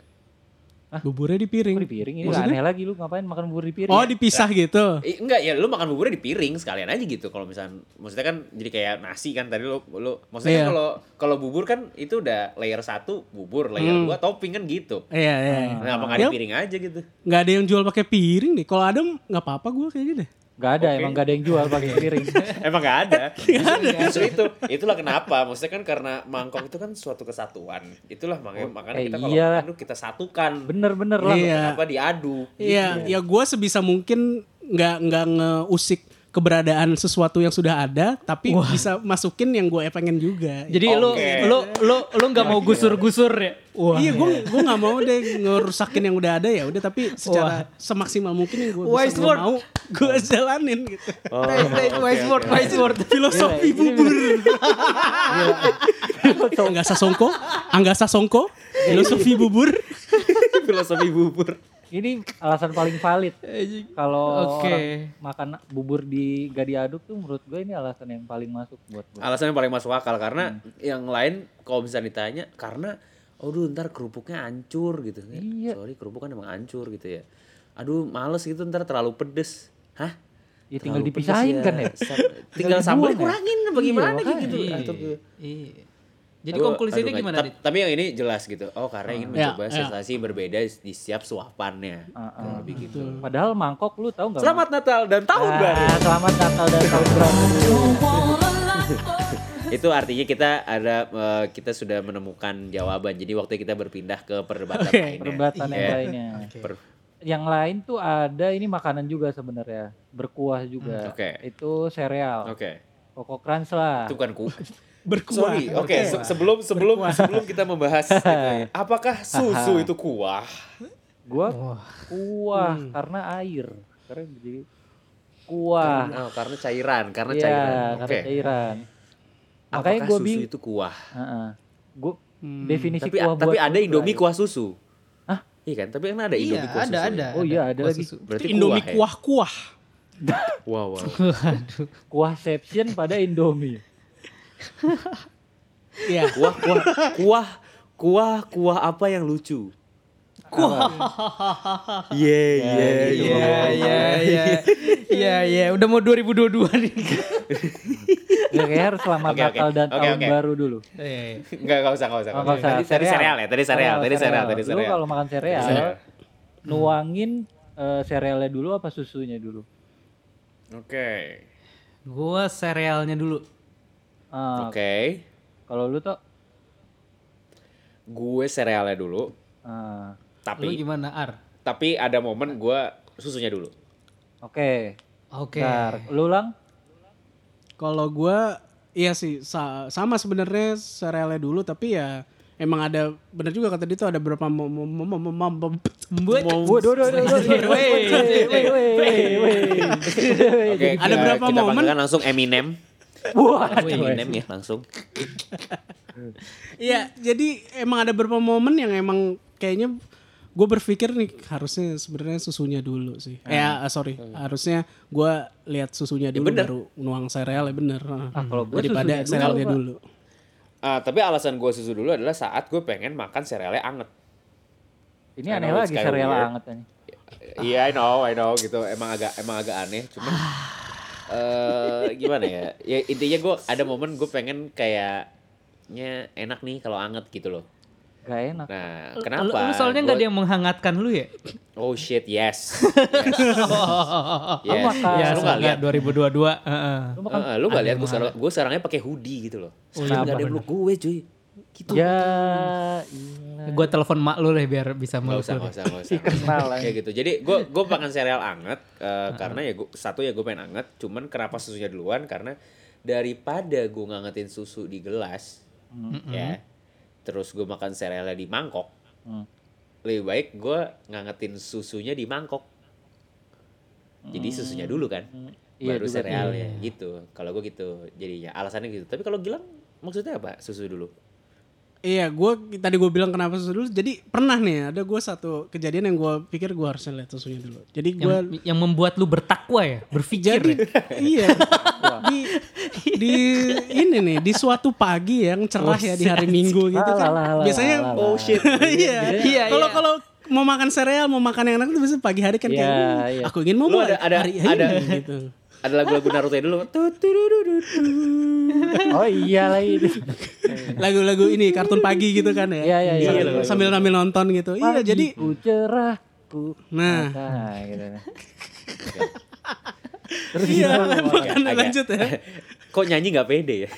Speaker 1: Buburnya di piring.
Speaker 6: Kok Ah. Oh, di piring ini
Speaker 1: Maksudnya?
Speaker 6: aneh lagi lu ngapain makan bubur di piring? ya?
Speaker 1: Oh dipisah gitu.
Speaker 3: Eh, enggak ya lu makan buburnya di piring sekalian aja gitu kalau misalnya maksudnya kan jadi kayak nasi kan tadi lu lu maksudnya kan
Speaker 1: Iya.
Speaker 3: kalau kalau bubur kan itu udah layer satu bubur layer dua topping kan gitu
Speaker 6: Ah.
Speaker 1: Iya iya. iya.
Speaker 3: nah, makan di
Speaker 1: Ya.
Speaker 3: piring aja gitu
Speaker 1: Nggak ada yang jual pakai piring deh. Kalau ada nggak apa-apa gue kayaknya deh.
Speaker 6: Gak ada, emang gak ada yang jual pakai piring.
Speaker 3: Emang gak ada. Justru, justru itu. Itulah kenapa. Maksudnya kan karena mangkok itu kan suatu kesatuan. Itulah makanya, makanya
Speaker 6: eh,
Speaker 3: kita kalau
Speaker 6: iyalah.
Speaker 3: aduk kita satukan.
Speaker 6: Bener-bener lah.
Speaker 1: Iya.
Speaker 3: Kenapa diaduk?
Speaker 1: Iya, ya gue sebisa mungkin nggak nggak ngeusik keberadaan sesuatu yang sudah ada, tapi bisa masukin yang gue pengen juga.
Speaker 2: Jadi lu lu lu lu nggak mau gusur-gusur ya? Wah.
Speaker 1: iya, gue gue nggak mau deh ngerusakin yang udah ada ya, udah tapi secara semaksimal mungkin yang gue
Speaker 2: Wise
Speaker 1: bisa gua
Speaker 2: word.
Speaker 1: mau gue jalanin gitu.
Speaker 3: Oh,
Speaker 2: Nice, nice, wise word, wise word.
Speaker 1: Filosofi bubur. Angga Sasongko, Angga Sasongko, filosofi bubur.
Speaker 3: Filosofi bubur.
Speaker 6: Ini alasan paling valid. Kalau
Speaker 2: Oke.
Speaker 6: orang makan bubur di gak diaduk tuh menurut gue ini alasan yang paling masuk buat gue.
Speaker 3: Alasan yang paling masuk akal. Karena yang lain kalau misalnya ditanya. Karena aduh ntar kerupuknya hancur gitu. Ya,
Speaker 6: Iya.
Speaker 3: Sorry kerupuk kan emang hancur gitu ya. Aduh males gitu ntar terlalu pedes. Hah?
Speaker 6: Ya tinggal
Speaker 3: Terlalu pedes
Speaker 6: dipisahin kan ya.
Speaker 3: Sam- tinggal sambal
Speaker 6: dibuang ya?
Speaker 3: kurangin bagaimana
Speaker 6: Iya,
Speaker 3: gitu.
Speaker 2: Iya.
Speaker 3: Atur ke-
Speaker 2: Iya. Jadi
Speaker 3: Gua-
Speaker 2: konklusinya
Speaker 3: aduh, nggak-
Speaker 2: gimana?
Speaker 3: tap-
Speaker 2: Dit?
Speaker 3: Tapi yang ini jelas gitu. Oh karena ingin
Speaker 1: Ya,
Speaker 3: mencoba
Speaker 1: ya.
Speaker 3: sensasi yang berbeda di setiap suapannya.
Speaker 6: Heeh. Padahal mangkok lu tahu nggak?
Speaker 3: Selamat Natal dan tahun
Speaker 6: Ah,
Speaker 3: baru.
Speaker 6: Selamat Natal dan tahun baru.
Speaker 3: Itu artinya kita ada eh, kita sudah menemukan jawaban. Jadi waktu kita berpindah ke perdebatan
Speaker 1: Oke,
Speaker 3: lainnya.
Speaker 6: Perdebatan yang
Speaker 3: Iya.
Speaker 6: lainnya.
Speaker 3: Per-
Speaker 6: Yang lain tuh ada ini makanan juga sebenarnya, berkuah juga.
Speaker 3: Hmm, oke.
Speaker 6: Itu
Speaker 3: Oke.
Speaker 6: sereal, Koko Krans lah.
Speaker 3: Itu bukan ku.
Speaker 1: Berkuah.
Speaker 3: Sorry. Oke, se- sebelum sebelum sebelum kita membahas itu, apakah susu itu kuah?
Speaker 6: Gua
Speaker 2: Wah.
Speaker 6: kuah
Speaker 3: Hmm.
Speaker 6: karena air. Karena jadi kuah.
Speaker 3: Oh, karena cairan, karena
Speaker 6: Iya,
Speaker 3: cairan. Oke.
Speaker 6: karena cairan. Makanya
Speaker 3: Apakah
Speaker 6: gue
Speaker 3: susu
Speaker 6: bingung.
Speaker 3: itu kuah?
Speaker 6: Heeh. Gua
Speaker 1: Hmm.
Speaker 6: definisi
Speaker 3: Tapi
Speaker 6: kuah buat
Speaker 3: tapi ada
Speaker 6: gua
Speaker 3: Indomie
Speaker 6: air.
Speaker 3: kuah susu.
Speaker 6: Hah?
Speaker 3: Iya kan? Tapi kan ada
Speaker 2: Iya,
Speaker 3: Indomie kuah
Speaker 2: ada
Speaker 3: susu.
Speaker 2: ada.
Speaker 6: Oh iya, ada
Speaker 2: Kuah
Speaker 6: lagi.
Speaker 2: susu.
Speaker 3: Berarti
Speaker 1: Indomie
Speaker 3: kuah ya?
Speaker 1: kuah-kuah.
Speaker 3: Wow, wow.
Speaker 6: Kuah sepsian pada Indomie.
Speaker 1: Iya.
Speaker 3: kuah kuah kuah kuah kuah apa yang lucu kuah ye ye
Speaker 2: Iya,
Speaker 3: Ya,
Speaker 2: iya, iya. Iya, iya. Udah mau 2022 nih.
Speaker 6: Ya kayaknya harus selamat
Speaker 3: Oke, oke.
Speaker 6: Natal dan
Speaker 3: Oke,
Speaker 6: tahun
Speaker 3: oke.
Speaker 6: baru dulu.
Speaker 2: Iya, iya.
Speaker 3: nggak nggak usah nggak usah,
Speaker 6: Oh,
Speaker 3: nggak usah. tadi
Speaker 6: nggak usah.
Speaker 3: tadi
Speaker 6: Sereal.
Speaker 3: sereal ya tadi sereal tadi sereal tadi
Speaker 6: Lu
Speaker 3: sereal
Speaker 6: kalau makan sereal,
Speaker 3: Sereal.
Speaker 6: nuangin eh, serealnya dulu apa susunya dulu?
Speaker 3: oke
Speaker 2: Gua serealnya dulu.
Speaker 6: Ah,
Speaker 3: oke
Speaker 6: Kalau lu tuh
Speaker 3: gue serealnya dulu
Speaker 6: ah,
Speaker 2: Lu
Speaker 3: tapi
Speaker 2: gimana, Ar?
Speaker 3: tapi ada momen gue susunya dulu
Speaker 6: Oke.
Speaker 2: Oke.
Speaker 6: Bentar. Lu lang?
Speaker 1: Kalau gua iya sih sa- sama sebenarnya serealnya dulu tapi ya emang ada bener juga kata dia tuh ada berapa mom mom mom mom mom mom
Speaker 2: Buat-
Speaker 1: mom-
Speaker 2: Wey.
Speaker 3: oke
Speaker 1: Ada
Speaker 3: kita-
Speaker 1: berapa
Speaker 3: kita
Speaker 1: momen?
Speaker 3: panggilkan langsung Eminem Eminem ya langsung
Speaker 1: Iya, jadi emang ada beberapa momen yang emang kayaknya gue berpikir nih harusnya sebenarnya susunya dulu sih. Eh, ah, sorry, harusnya gua lihat susunya dulu
Speaker 3: bener.
Speaker 1: baru nuang sereal ya bener.
Speaker 6: Ah, kalau gua
Speaker 1: daripada
Speaker 6: susunya dulu
Speaker 1: serealnya
Speaker 6: apa?
Speaker 1: dulu.
Speaker 3: Ah, tapi alasan gue susu dulu adalah saat gue pengen makan serealnya anget
Speaker 6: Ini
Speaker 3: I
Speaker 6: aneh
Speaker 3: know it's
Speaker 6: lagi
Speaker 3: kinda
Speaker 6: sereal
Speaker 3: weird.
Speaker 6: anget ini.
Speaker 3: Iya, I know, I know gitu. Emang agak emang agak aneh, cuman eh gimana ya? Ya intinya gue ada momen gue pengen kayaknya enak nih kalau anget gitu loh.
Speaker 6: Gak enak.
Speaker 3: Nah,
Speaker 2: Lu,
Speaker 3: kenapa?
Speaker 2: lu soalnya nggak
Speaker 3: Gua-
Speaker 2: ada yang menghangatkan lu ya?
Speaker 3: Oh shit, yes. yes. Yes.
Speaker 6: makan.
Speaker 3: Ya,
Speaker 2: ya,
Speaker 3: lu nggak lihat.
Speaker 2: semoga 2022. heeh.
Speaker 6: Lu
Speaker 3: Eh,
Speaker 6: makan
Speaker 3: eh, lu nggak
Speaker 2: ada
Speaker 3: lihat
Speaker 2: yang Oh,
Speaker 3: gue sarang, gue sarangnya pakai hoodie gitu loh.
Speaker 6: iya,
Speaker 3: Sekarang nggak ada yang meluk gue cuy. Gitu.
Speaker 6: Ya, iya.
Speaker 2: Gua telepon mak lu deh biar bisa
Speaker 3: Gak
Speaker 2: meluk
Speaker 3: usah,
Speaker 2: lu
Speaker 3: gak
Speaker 2: deh.
Speaker 3: usah, gak usah.
Speaker 6: Kenal lah.
Speaker 3: Kayak gitu. Jadi gue gue makan sereal anget eh, karena ya gua, satu ya gue pengen anget. Cuman kenapa susunya duluan? Karena daripada gue ngangetin susu di gelas, ya, terus gue makan serealnya di mangkok,
Speaker 6: Hmm.
Speaker 3: lebih baik gue ngangetin susunya di mangkok. Jadi susunya dulu kan,
Speaker 6: Hmm. Iya
Speaker 3: baru
Speaker 6: juga
Speaker 3: serealnya gitu. Kalau gue gitu jadinya alasannya gitu. Tapi kalau Gilang maksudnya apa? Susu dulu.
Speaker 1: Iya, gua tadi gue bilang kenapa susu dulu. Jadi pernah nih ada gue satu kejadian yang gua pikir gua harusnya lihat susunya dulu. Jadi
Speaker 2: Yang,
Speaker 1: gua
Speaker 2: yang membuat lu bertakwa ya, berpikir.
Speaker 1: Jadi iya
Speaker 2: ya?
Speaker 1: di di ini nih di suatu pagi yang cerah ya di hari Minggu gitu
Speaker 6: Oh, Alah, alah,
Speaker 1: kan.
Speaker 6: alah,
Speaker 1: Biasanya
Speaker 6: alah, alah.
Speaker 1: oh shit. Iya.
Speaker 2: Iya,
Speaker 1: Kalau
Speaker 2: iya.
Speaker 1: kalau mau makan sereal, mau makan yang enak itu biasanya pagi hari kan kayak
Speaker 6: Iya,
Speaker 1: "Hmm,
Speaker 6: iya.
Speaker 1: aku ingin mau
Speaker 3: Lu ada- ada-
Speaker 1: hari ini
Speaker 3: ada-
Speaker 1: gitu.
Speaker 3: Ada lagu-lagu Naruto dulu. Tut, tut, tut, tut, tut.
Speaker 6: Oh iya lagi.
Speaker 1: Lagu-lagu ini kartun pagi gitu kan ya.
Speaker 6: Iya, iya, iya.
Speaker 1: Sambil-
Speaker 3: Iya, iya.
Speaker 1: Sambil sambil nonton gitu. Iya, jadi
Speaker 6: ku cerah ku.
Speaker 1: Nah.
Speaker 6: matahari, gitu. nah.
Speaker 1: terus iya, makan
Speaker 3: Agak-
Speaker 1: lanjut ya.
Speaker 3: Kok nyanyi nggak pede ya?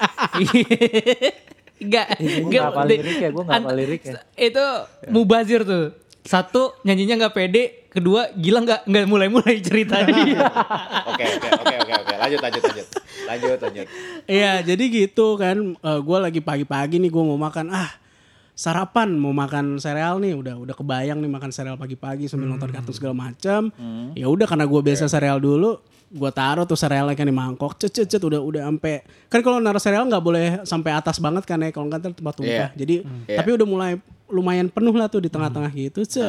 Speaker 2: Enggak,
Speaker 6: Gue
Speaker 2: enggak
Speaker 6: nggak hafal lirik ya, gue nggak hafal lirik ya.
Speaker 2: Itu mubazir tuh. Satu nyanyinya nggak pede, kedua gila nggak nggak mulai-mulai ceritanya.
Speaker 3: Oke, oke, oke, oke, oke. Lanjut, lanjut, lanjut. Lanjut, lanjut.
Speaker 1: Iya, jadi gitu kan. Eh, gue lagi pagi-pagi nih gue mau makan ah sarapan mau makan sereal nih udah udah kebayang nih makan sereal pagi-pagi sambil nonton kartun segala macam
Speaker 3: Hmm.
Speaker 1: ya udah karena gue
Speaker 3: Iya.
Speaker 1: biasa sereal dulu gue taruh tuh serealnya kan di mangkok cet cet cet udah udah sampai kan kalau naruh sereal nggak boleh sampai atas banget kan ya kalau nggak ntar tempat tumpah
Speaker 3: Iya.
Speaker 1: jadi
Speaker 3: Iya.
Speaker 1: tapi udah mulai lumayan penuh lah tuh di tengah-tengah gitu cet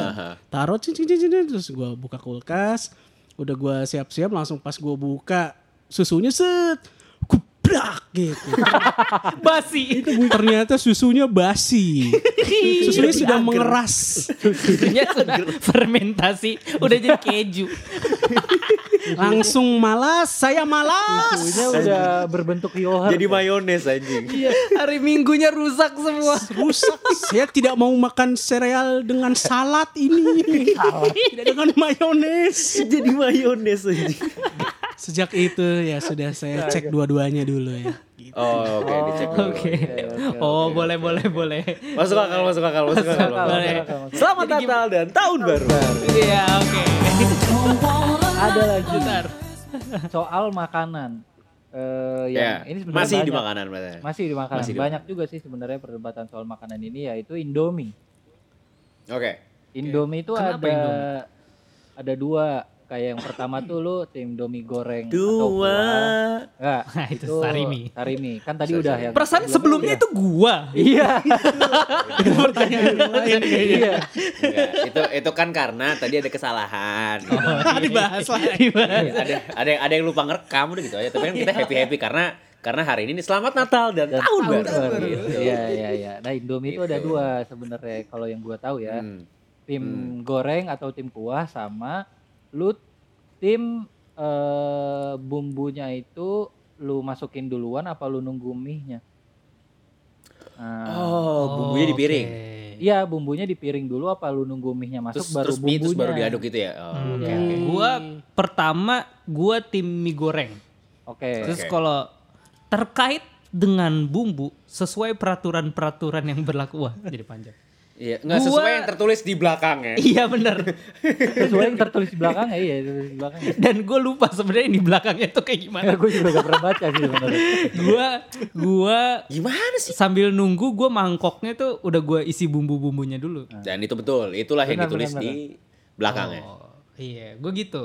Speaker 1: taruh cing cing cing cing, cing. terus gue buka kulkas udah gue siap-siap langsung pas gue buka susunya set kubrak gitu
Speaker 2: Basi.
Speaker 1: ternyata susunya basi. Susunya sudah mengeras.
Speaker 2: Susunya sudah fermentasi, udah jadi keju.
Speaker 1: Langsung malas, saya malas.
Speaker 6: Punya udah Eh, berbentuk yohar.
Speaker 3: Jadi mayones anjing.
Speaker 2: Hari Minggunya rusak semua.
Speaker 1: Rusak. Saya tidak mau makan sereal dengan salad ini. Tidak dengan mayones.
Speaker 3: Jadi mayones anjing.
Speaker 1: Sejak itu ya sudah saya cek dua-duanya dulu ya. Gitu.
Speaker 3: Oh, oke, dicek dulu.
Speaker 2: Oke. Oh, boleh boleh boleh.
Speaker 3: Masuk akal, masuk akal, masuk akal.
Speaker 2: Boleh.
Speaker 3: Selamat Natal dan tahun baru.
Speaker 2: Iya, oke.
Speaker 6: Ada lagi
Speaker 2: Bentar.
Speaker 6: soal makanan. Eh,
Speaker 3: Ya,
Speaker 6: yang ini sebenarnya
Speaker 3: masih di
Speaker 6: banyak.
Speaker 3: makanan berarti. ya?
Speaker 6: Masih di makanan.
Speaker 3: Masih di
Speaker 6: banyak juga sih sebenarnya perdebatan soal makanan ini yaitu Indomie.
Speaker 3: Oke.
Speaker 6: Indomie itu
Speaker 2: Kenapa
Speaker 6: ada
Speaker 2: Indomie?
Speaker 6: ada dua kayak yang pertama tuh lu tim Indomie goreng atau
Speaker 3: Dua.
Speaker 6: kuah. Enggak,
Speaker 2: Nah, itu sarimi.
Speaker 6: Sarimi. Kan tadi udah ya.
Speaker 2: Perasaan sebelumnya itu gua.
Speaker 6: Iya.
Speaker 2: Iya.
Speaker 3: Enggak, itu itu kan karena tadi ada kesalahan. gitu.
Speaker 2: Oh, Dibahas lah.
Speaker 3: ada ada yang, ada yang lupa ngerekam udah gitu aja. Tapi kan kita happy happy karena karena hari ini nih selamat Natal dan,
Speaker 2: Iya.
Speaker 3: tahun baru.
Speaker 6: Baru. Iya, iya, iya. Nah, Indomie itu ada
Speaker 3: Gitu.
Speaker 6: dua sebenarnya kalau yang gua tahu ya.
Speaker 3: Hmm.
Speaker 6: Tim
Speaker 3: Hmm.
Speaker 6: goreng atau tim kuah sama lu tim eh, bumbunya itu lu masukin duluan apa lu nunggu mie-nya? Nah,
Speaker 3: Oh, bumbunya di piring.
Speaker 6: Iya, bumbunya di piring dulu apa lu nunggu mie-nya masuk
Speaker 3: Terus
Speaker 6: baru
Speaker 3: terus mie
Speaker 6: bumbunya.
Speaker 3: terus baru diaduk gitu ya. Oh,
Speaker 2: Hmm.
Speaker 3: oke,
Speaker 6: Iya.
Speaker 3: oke.
Speaker 2: Gua pertama gua tim mie goreng.
Speaker 6: Oke.
Speaker 2: Terus kalau terkait dengan bumbu sesuai peraturan-peraturan yang berlaku wah jadi panjang.
Speaker 3: Iya, enggak
Speaker 2: Gua-
Speaker 3: sesuai yang tertulis di belakangnya.
Speaker 2: iya benar.
Speaker 6: Sesuai yang tertulis di belakang ya, iya tertulis di belakang.
Speaker 2: Dan gue lupa sebenarnya di belakangnya tuh kayak gimana.
Speaker 6: gue juga gak pernah baca sih sebenarnya.
Speaker 2: Gua gua
Speaker 3: Gimana sih?
Speaker 2: sambil nunggu gua mangkoknya tuh udah gua isi bumbu-bumbunya dulu.
Speaker 3: Dan itu Nah, betul, itulah yang
Speaker 6: Benar,
Speaker 3: ditulis
Speaker 6: benar,
Speaker 3: di belakangnya.
Speaker 2: Oh, iya, gua gitu.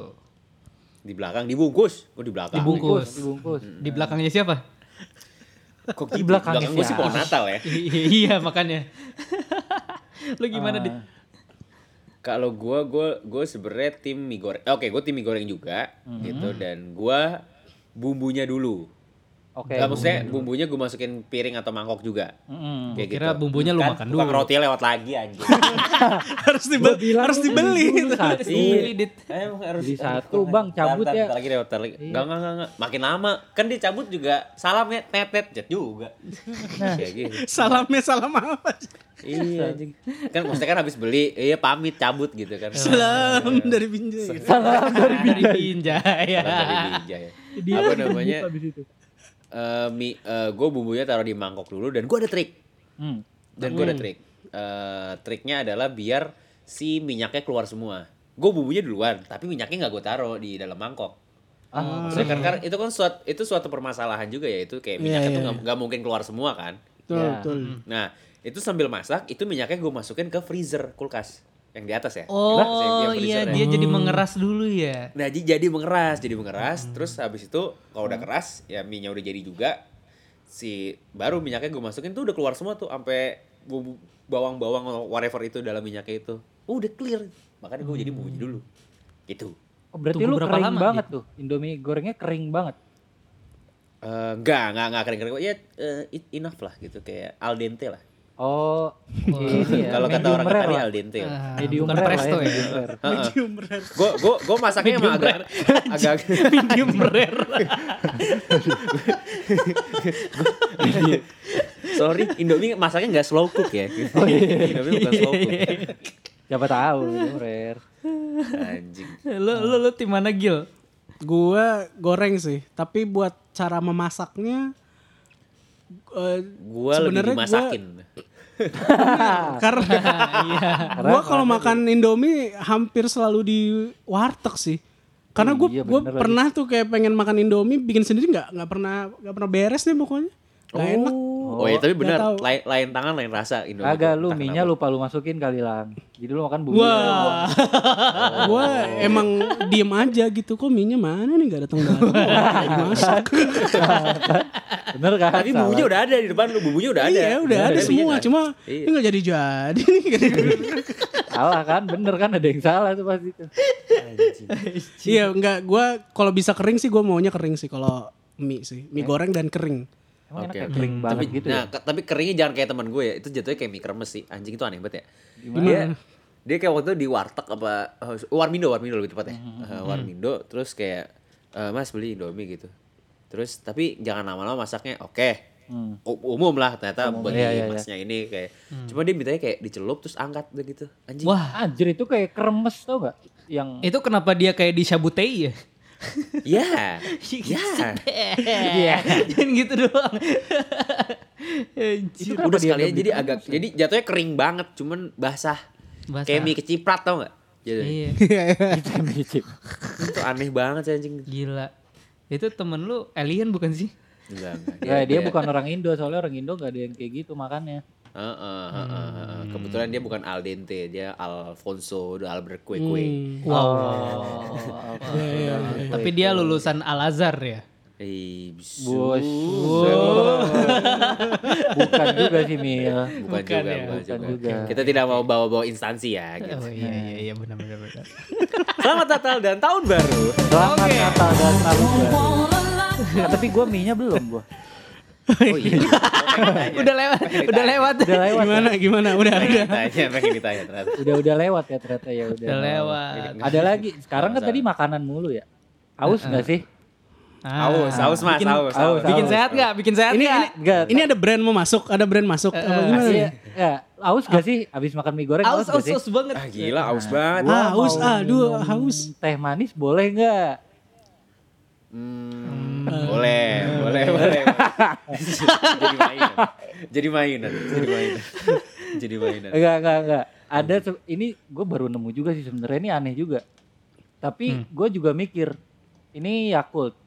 Speaker 3: Di belakang dibungkus. Oh, di belakang.
Speaker 2: Dibungkus.
Speaker 6: Dibungkus.
Speaker 2: Di belakangnya siapa?
Speaker 3: Kok gitu? Di
Speaker 6: Di
Speaker 3: belakang
Speaker 6: belakangnya
Speaker 3: gua sih
Speaker 6: siapa?
Speaker 3: pohon Natal ya.
Speaker 2: I- iya makanya. Ah. Lu gimana di?
Speaker 3: Kalau gua gua gua sebenarnya tim mie goreng. Eh, Oke, gua tim mie goreng juga
Speaker 2: Mhm.
Speaker 3: gitu dan gua bumbunya dulu.
Speaker 6: Oke.
Speaker 3: Nggak, maksudnya bumbunya gue masukin piring atau mangkok juga.
Speaker 6: Mm-mm.
Speaker 3: Kayak
Speaker 2: Hmm, kira bumbunya lu
Speaker 3: Kan
Speaker 2: makan
Speaker 3: tukang
Speaker 2: dulu.
Speaker 3: roti lewat lagi anjing.
Speaker 1: harus dibeli, harus dibeli.
Speaker 6: Satu.
Speaker 2: Iya.
Speaker 3: Eh, Emang harus
Speaker 6: Di
Speaker 3: harus
Speaker 6: satu,
Speaker 3: tukang-
Speaker 6: Bang, cabut
Speaker 3: Bentar,
Speaker 6: ya.
Speaker 3: bentar lagi lewat bentar lagi. Enggak enggak enggak, enggak. Makin lama kan dicabut juga salam ya tetet jet juga.
Speaker 6: Nah.
Speaker 3: Kayak gitu.
Speaker 1: Salamnya salam apa?
Speaker 3: Iya anjing. Kan maksudnya kan habis beli, iya pamit cabut gitu kan.
Speaker 1: Salam
Speaker 6: Iya.
Speaker 1: dari Binjai.
Speaker 6: Salam dari
Speaker 2: Dari Binjai.
Speaker 3: Salam dari
Speaker 6: Iya.
Speaker 3: Binjai. Apa namanya? Eh mie, eh, gue bumbunya taruh di mangkok dulu dan gue ada trik.
Speaker 6: Hmm.
Speaker 3: Dan gue ada trik. Eh, triknya adalah biar si minyaknya keluar semua. Gue bumbunya duluan, tapi minyaknya nggak gue taruh di dalam mangkok.
Speaker 6: Ah,
Speaker 3: Maksudnya kan, kan itu kan suatu, itu suatu permasalahan juga ya itu kayak
Speaker 1: Iya,
Speaker 3: minyaknya
Speaker 1: iya,
Speaker 3: tuh nggak- nggak mungkin keluar semua kan.
Speaker 1: Betul,
Speaker 6: Ya.
Speaker 1: betul.
Speaker 3: Nah itu sambil masak itu minyaknya gue masukin ke freezer kulkas yang di atas ya. Kulkas yang-
Speaker 2: Oh
Speaker 3: yang
Speaker 2: iya
Speaker 3: freezernya.
Speaker 2: dia jadi mengeras dulu ya.
Speaker 3: Nah jadi jadi mengeras, jadi mengeras. Terus habis itu kalau udah keras, ya minyak udah jadi juga. Si baru minyaknya gue masukin tuh udah keluar semua tuh sampai bumbu- bawang-bawang whatever itu dalam minyaknya itu. Oh, udah clear. Makanya gue jadi bumbunya dulu. Gitu. Itu.
Speaker 6: Oh, berarti
Speaker 2: Tunggu
Speaker 6: lu
Speaker 2: berapa
Speaker 6: kering
Speaker 2: lama
Speaker 3: gitu?
Speaker 6: banget tuh. Indomie gorengnya kering banget.
Speaker 3: Eh, enggak, enggak, enggak kering-kering. Ya eh, it- enough lah gitu kayak al dente lah.
Speaker 6: Oh, ini ya.
Speaker 3: Kalau kata
Speaker 6: medium
Speaker 3: orang
Speaker 6: rare
Speaker 3: Italia
Speaker 6: lah.
Speaker 3: al dente.
Speaker 2: Ah,
Speaker 6: medium
Speaker 2: bukan
Speaker 6: rare lah
Speaker 2: presto
Speaker 6: ya,
Speaker 2: ya.
Speaker 6: medium rare.
Speaker 1: medium rare.
Speaker 3: Gue gue gue masaknya emang agak agak
Speaker 2: medium rare.
Speaker 3: sorry Indomie masaknya nggak slow cook ya. Indomie bukan slow cook.
Speaker 6: Siapa tahu medium rare.
Speaker 3: Anjing.
Speaker 2: lu lu lu tim mana Gil?
Speaker 1: Gua goreng sih, tapi buat cara memasaknya eh,
Speaker 3: Gue
Speaker 1: sebenarnya
Speaker 3: lebih
Speaker 1: gua-
Speaker 3: dimasakin.
Speaker 6: Iya.
Speaker 1: karena gua kalau makan Indomie hampir selalu di warteg sih. Karena gue
Speaker 6: Iya,
Speaker 1: gua
Speaker 6: bener lagi.
Speaker 1: pernah tuh kayak pengen makan Indomie bikin sendiri nggak nggak pernah nggak pernah beres deh pokoknya. Gak enak.
Speaker 3: Oh, ya tapi
Speaker 1: nggak
Speaker 3: benar
Speaker 1: tahu.
Speaker 3: lain, lain tangan lain rasa Indomie.
Speaker 6: Agak
Speaker 3: tuh,
Speaker 6: lu
Speaker 3: entah
Speaker 6: minyak
Speaker 3: kenapa.
Speaker 6: lupa lu masukin kali lang. Jadi lu makan bumbu.
Speaker 1: Wah, gue
Speaker 6: Oh.
Speaker 1: emang diem aja gitu. Kok minyak mana nih gak datang datang? Masak.
Speaker 6: Bener kan?
Speaker 3: Tapi bumbunya udah ada di depan lu, bumbunya udah ada.
Speaker 1: Iya, udah ada
Speaker 3: Tapi
Speaker 1: semua.
Speaker 3: kan?
Speaker 1: Cuma ini nggak jadi jadi.
Speaker 6: Salah kan? Bener kan ada yang salah tuh pasti itu.
Speaker 1: Iya, nggak. Gue kalau bisa kering sih, gue maunya kering sih. Kalau mie sih, mie goreng dan kering.
Speaker 6: Emang
Speaker 3: Oke,
Speaker 6: enak ya,
Speaker 3: oke.
Speaker 6: kering banget gitu
Speaker 3: nah,
Speaker 6: ya.
Speaker 3: ke- tapi keringnya jangan kayak teman gue ya. Itu jatuhnya kayak mie kremes sih. Anjing itu aneh banget ya.
Speaker 1: Gimana?
Speaker 3: Dia dia kayak waktu itu di warteg apa eh, Warmindo, Warmindo lebih tepatnya.
Speaker 6: Hmm,
Speaker 3: Eh, Warmindo terus kayak eh, Mas beli Indomie gitu. Terus tapi jangan lama-lama masaknya. Oke. U- Umum lah ternyata bagi
Speaker 6: Iya, iya, iya.
Speaker 3: masnya ini kayak. Cuma dia mintanya kayak dicelup terus angkat udah gitu. Anjing.
Speaker 2: Wah,
Speaker 6: Ah, Anjir itu kayak kremes tau gak? Yang
Speaker 2: itu kenapa dia kayak disabutei ya?
Speaker 3: Ya. ya.
Speaker 2: Iya. Jangan gitu doang. Anjir.
Speaker 3: Itu
Speaker 6: kenapa
Speaker 3: udah
Speaker 6: dia ya?
Speaker 3: sekalian
Speaker 6: nggak
Speaker 3: jadi agak jadi jatuhnya kering banget cuman basah.
Speaker 2: Basah.
Speaker 3: Kayak mie keciprat tau gak? Jadi
Speaker 2: Iya,
Speaker 6: micip.
Speaker 3: itu aneh banget sih anjing.
Speaker 2: gila. Itu temen lu alien bukan sih?
Speaker 3: Enggak, enggak.
Speaker 1: Iya,
Speaker 6: Ya, dia bukan orang Indo, soalnya orang Indo gak ada yang kayak gitu makannya.
Speaker 3: Heeh, heeh, heeh, heeh.
Speaker 6: Hmm.
Speaker 3: Kebetulan dia bukan al dente, dia Alfonso de Albert Kue Kue.
Speaker 2: Oh,
Speaker 6: Hmm. Wow.
Speaker 2: iya, Tapi dia lulusan Al Azhar ya.
Speaker 3: Eh, bisu.
Speaker 6: Bos. Bukan juga sih Mil.
Speaker 3: Bukan, juga, bukan,
Speaker 6: Bukan
Speaker 3: juga.
Speaker 6: juga.
Speaker 3: Kita tidak mau bawa-bawa instansi ya. Gitu.
Speaker 2: Oh iya iya iya benar benar benar.
Speaker 3: Selamat Natal dan tahun baru.
Speaker 6: Selamat Natal dan Tahun Baru. Ah, Tapi gue mie-nya belum gue.
Speaker 3: Oh iya.
Speaker 2: udah lewat, udah lewat.
Speaker 6: Udah lewat. ya?
Speaker 1: Gimana? Nah, Gimana? Udah, udah.
Speaker 3: Pengen ditanya, pengen ditanya ternyata.
Speaker 6: Udah udah lewat ya ternyata ya udah.
Speaker 2: Udah lewat.
Speaker 6: Ada lagi. Sekarang kan tadi makanan mulu ya. Aus nggak sih?
Speaker 2: Ah.
Speaker 3: Aus, aus mas,
Speaker 1: Bikin-
Speaker 3: aus, aus.
Speaker 6: aus.
Speaker 2: Bikin sehat nggak? Bikin sehat
Speaker 1: Ini, ini,
Speaker 2: nggak?
Speaker 6: Enggak.
Speaker 1: ini ada brand mau masuk, ada brand masuk. Apa gimana?
Speaker 6: Iya, ya, aus gak sih abis makan mie goreng?
Speaker 2: Aus
Speaker 6: Aus,
Speaker 2: aus
Speaker 6: gak sih?
Speaker 2: aus banget.
Speaker 3: Ah, gila, aus banget.
Speaker 6: Gua
Speaker 1: Ah, Haus,
Speaker 6: mau
Speaker 1: aduh,
Speaker 6: minum
Speaker 1: haus.
Speaker 6: Teh manis boleh nggak?
Speaker 3: Hmm, boleh, boleh, boleh. jadi mainan. Jadi mainan, jadi mainan. Jadi mainan.
Speaker 6: Enggak, enggak, enggak. Ada se- ini gue baru nemu juga sih sebenarnya ini aneh juga.
Speaker 1: Hmm.
Speaker 6: Tapi gue juga mikir ini Yakult.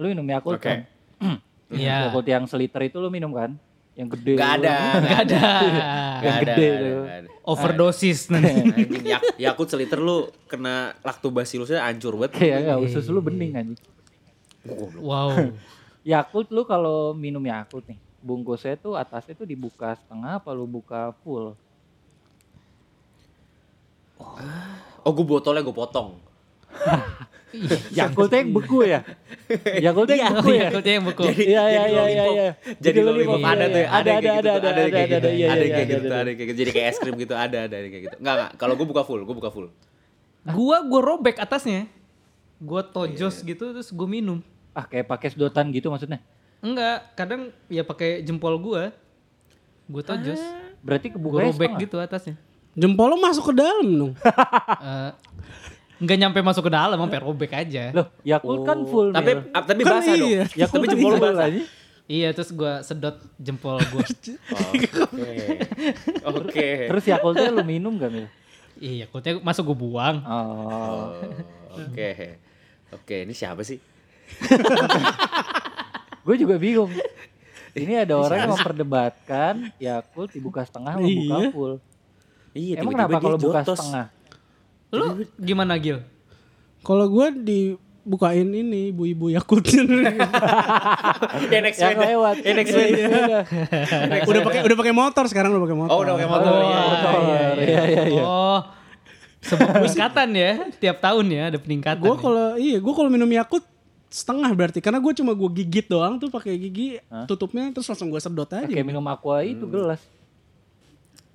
Speaker 6: Lu minum Yakult
Speaker 3: Oke.
Speaker 6: kan?
Speaker 2: Iya.
Speaker 6: Yakult yang seliter itu lu minum kan? Yang gede.
Speaker 3: Gak ada, gak
Speaker 2: Gak ada.
Speaker 3: Gak ada,
Speaker 6: gede
Speaker 3: gak ada,
Speaker 6: tuh.
Speaker 3: gak ada.
Speaker 2: Overdosis nanti.
Speaker 3: Anjing, ya, yak, Yakult seliter lu kena lactobacillusnya hancur banget.
Speaker 6: Ya
Speaker 1: Iya.
Speaker 6: enggak, usus lu bening anjing.
Speaker 2: Wow.
Speaker 6: Yakult lu kalau minum Yakult nih, bungkusnya tuh atasnya tuh dibuka setengah apa lu buka full?
Speaker 3: Oh, gue botolnya gue potong.
Speaker 6: Yakultnya yang beku ya? Yakultnya
Speaker 3: Iya,
Speaker 6: yang beku ya?
Speaker 2: Yakultnya yang beku.
Speaker 6: Iya, iya, iya, iya, iya.
Speaker 3: Jadi
Speaker 6: Betul,
Speaker 3: lollipop
Speaker 6: iya,
Speaker 3: ada tuh, ya,
Speaker 6: iya.
Speaker 3: ada yang
Speaker 6: ada,
Speaker 3: kayak gitu,
Speaker 6: ada,
Speaker 3: tuh,
Speaker 6: ada, ada,
Speaker 3: yang kayak
Speaker 6: ada, ada,
Speaker 3: gitu,
Speaker 6: iya,
Speaker 3: ada yang
Speaker 6: iya,
Speaker 3: kayak
Speaker 6: ada,
Speaker 3: gitu,
Speaker 6: ada.
Speaker 3: ada yang kayak gitu. Jadi kayak es krim gitu, ada, ada yang kayak gitu. Enggak, enggak. Kalau gue buka full, gue buka full.
Speaker 2: Gua gua robek atasnya. Gua tojos gitu terus gua minum.
Speaker 6: Ah, kayak pakai sedotan gitu maksudnya.
Speaker 2: Enggak, kadang ya pakai jempol gua. Gua tojos.
Speaker 6: Berarti
Speaker 2: Gua
Speaker 6: kebuka ya,
Speaker 2: robek gitu atasnya.
Speaker 1: Jempol lo masuk ke dalam dong.
Speaker 2: Eh, Nggak nyampe masuk ke dalam, sampai robek aja.
Speaker 6: Loh, Yakult kan full
Speaker 3: Tapi
Speaker 6: Mil.
Speaker 3: ah, tapi
Speaker 1: Kan
Speaker 3: basah dong.
Speaker 1: iya.
Speaker 6: Yakult
Speaker 3: Tapi
Speaker 6: kan
Speaker 3: jempol lu
Speaker 6: full
Speaker 3: basah.
Speaker 6: anjing.
Speaker 2: Iya, terus gua sedot jempol gua.
Speaker 3: Oke. Oke.
Speaker 6: Terus Yakultnya lu minum gak Mil?
Speaker 2: iya, kulitnya masuk gua buang.
Speaker 6: Oh.
Speaker 3: Oh, Oke. Oke, ini siapa sih?
Speaker 6: Gue juga bingung. Ini ada orang yang memperdebatkan Yakult dibuka setengah sama buka
Speaker 1: Iya.
Speaker 6: full.
Speaker 3: Iya, tiba-tiba
Speaker 6: Emang kenapa
Speaker 3: dia
Speaker 6: kalau buka
Speaker 3: jotos.
Speaker 6: setengah?
Speaker 2: Lu gimana, Gil?
Speaker 1: Kalau gue dibukain ini ibu-ibu Yakult. udah
Speaker 3: Ya next
Speaker 6: Yang
Speaker 3: week.
Speaker 6: lewat. Iya.
Speaker 3: Eh, next week.
Speaker 1: pakai udah pakai motor sekarang udah pakai motor.
Speaker 3: Oh, udah pakai motor.
Speaker 6: Oh,
Speaker 3: iya.
Speaker 6: motor. Iya, iya, iya.
Speaker 2: Oh, sebuah peningkatan ya. Tiap tahun ya ada peningkatan.
Speaker 1: Gue
Speaker 2: ya.
Speaker 1: kalau iya gue kalau minum Yakult setengah berarti karena gue cuma gue gigit doang tuh pakai gigi tutupnya terus langsung gue sedot aja.
Speaker 3: Hmm.
Speaker 6: Kayak minum aqua itu gelas.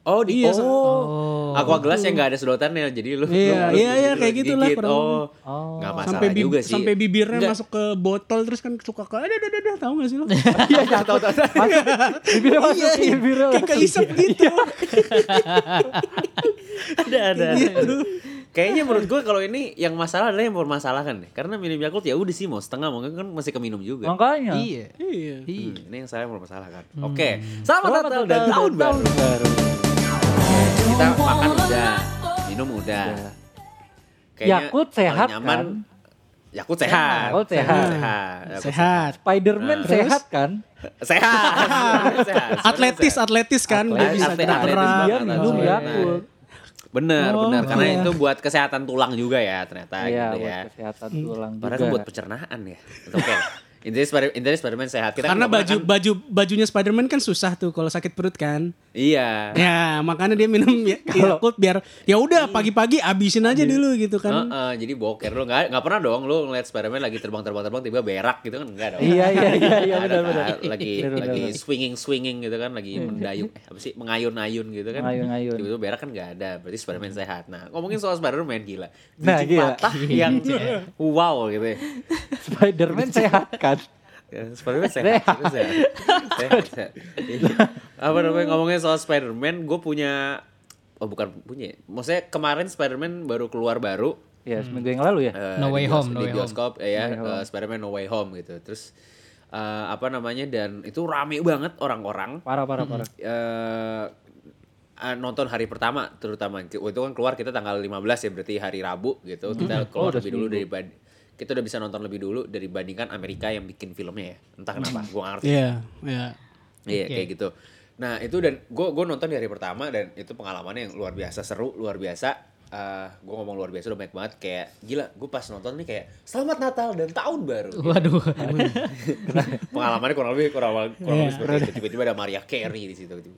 Speaker 3: Oh, di
Speaker 1: Iya, so-
Speaker 3: oh. Aqua gelas yang nggak ada sedotannya jadi
Speaker 1: Iya,
Speaker 3: lu. lu- lu
Speaker 1: iya, iya,
Speaker 3: gigit,
Speaker 1: kayak gitulah
Speaker 3: gigit.
Speaker 1: kurang
Speaker 3: Oh.
Speaker 6: Oh.
Speaker 3: Nggak masalah
Speaker 1: sampai bib-
Speaker 3: juga sih.
Speaker 1: sampai bibirnya
Speaker 3: Nggak.
Speaker 1: masuk ke botol terus kan suka ke ada ada ada tahu gak sih lo? Iya,
Speaker 3: Iya, iya, tahu tahu. tahu.
Speaker 6: Bibirnya masuk, bibirnya
Speaker 1: Kayak
Speaker 6: masuk.
Speaker 1: kelisap
Speaker 3: Iya.
Speaker 1: gitu.
Speaker 3: ada ada. Kayaknya menurut gue kalau ini yang masalah adalah yang permasalahan deh. Karena minum Yakult ya udah sih mau setengah mungkin kan masih keminum juga.
Speaker 6: Makanya.
Speaker 2: Iya.
Speaker 1: Iya.
Speaker 3: Hmm, ini yang saya bermasalah kan. Oke, selamat Natal dan
Speaker 6: Hmm. Selamat
Speaker 3: tahun baru.
Speaker 6: baru.
Speaker 3: Kita makan udah, minum udah.
Speaker 6: Iya. Yakult sehat
Speaker 3: paling nyaman,
Speaker 6: kan?
Speaker 3: Yakult sehat.
Speaker 6: Yakult sehat.
Speaker 3: Sehat. Yakult
Speaker 1: Sehat.
Speaker 6: Spiderman
Speaker 3: Nah.
Speaker 6: sehat kan?
Speaker 3: Sehat. Yakult sehat.
Speaker 1: Atletis, atletis kan udah
Speaker 3: Atlet-
Speaker 1: bisa gerak
Speaker 3: atlet- Iya. atletis
Speaker 1: gerak.
Speaker 3: banget,
Speaker 6: Dia minum
Speaker 3: Atletis.
Speaker 6: Yakult.
Speaker 3: Bener, bener. Karena
Speaker 1: iya.
Speaker 3: itu buat kesehatan tulang juga ya ternyata
Speaker 6: Oh, Iya,
Speaker 3: gitu ya.
Speaker 6: buat kesehatan tulang
Speaker 3: Padahal kan
Speaker 6: juga.
Speaker 3: buat pencernaan ya. Oke. Intinya Spider intinya Spiderman sehat. Kita
Speaker 1: Karena
Speaker 3: nggak
Speaker 1: baju
Speaker 3: pernah
Speaker 1: baju bajunya Spiderman kan susah tuh kalau sakit perut kan.
Speaker 3: kan- Iya. Hmm.
Speaker 6: Eh,
Speaker 1: Ya, makanya dia minum ya- Yakult biar ya udah pagi-pagi abisin
Speaker 3: Iya.
Speaker 1: aja dulu gitu kan.
Speaker 3: Heeh, jadi boker lu nggak nggak pernah dong lu ngeliat Spiderman lagi terbang-terbang-terbang tiba berak gitu kan enggak dong.
Speaker 6: Iya, iya, iya, iya,
Speaker 3: Nggak ada,
Speaker 6: benar, benar.
Speaker 3: kan. Lagi
Speaker 6: Benar, benar,
Speaker 3: lagi
Speaker 6: benar.
Speaker 3: swinging-swinging gitu kan lagi mendayung eh, apa sih mengayun-ayun gitu kan.
Speaker 6: Mengayun-ayun.
Speaker 3: Tiba-tiba berak kan nggak ada. Berarti Spiderman sehat. Nah, ngomongin soal Spiderman gila. Tujuh
Speaker 6: Nah, gila.
Speaker 3: patah yang wow gitu ya.
Speaker 6: Spiderman sehat kan?
Speaker 3: Ya, Spiderman sehat, sehat, sehat. sehat, sehat. Iya. Apa namanya ngomongin soal Spiderman, gue punya oh bukan punya, ya. maksudnya kemarin Spiderman baru keluar baru.
Speaker 6: Ya, seminggu yang lalu ya.
Speaker 3: eh,
Speaker 2: No
Speaker 3: di
Speaker 2: Way
Speaker 3: bios-
Speaker 2: Home, No
Speaker 3: di
Speaker 2: Way
Speaker 3: bioskop eh, ya,
Speaker 6: No Way Home.
Speaker 3: eh, Spiderman No Way Home gitu. Terus eh, apa namanya dan itu rame banget orang-orang
Speaker 6: Parah, parah, parah.
Speaker 3: eh eh, nonton hari pertama terutama Ki- itu kan keluar kita tanggal 15 ya berarti hari Rabu gitu kita keluar lebih dulu daripada kita udah bisa nonton lebih dulu dibandingkan Amerika yang bikin filmnya ya entah kenapa gua nggak ngerti
Speaker 1: Iya, iya.
Speaker 3: iya kayak gitu nah itu dan gua gua nonton di hari pertama dan itu pengalamannya yang luar biasa seru luar biasa Eh, gua ngomong luar biasa udah banyak banget kayak gila gua pas nonton nih kayak selamat Natal dan tahun baru
Speaker 2: Waduh.
Speaker 3: pengalamannya kurang lebih kurang, Iya, kurang lebih seperti itu tiba-tiba ada Maria Carey di situ
Speaker 2: Waduh.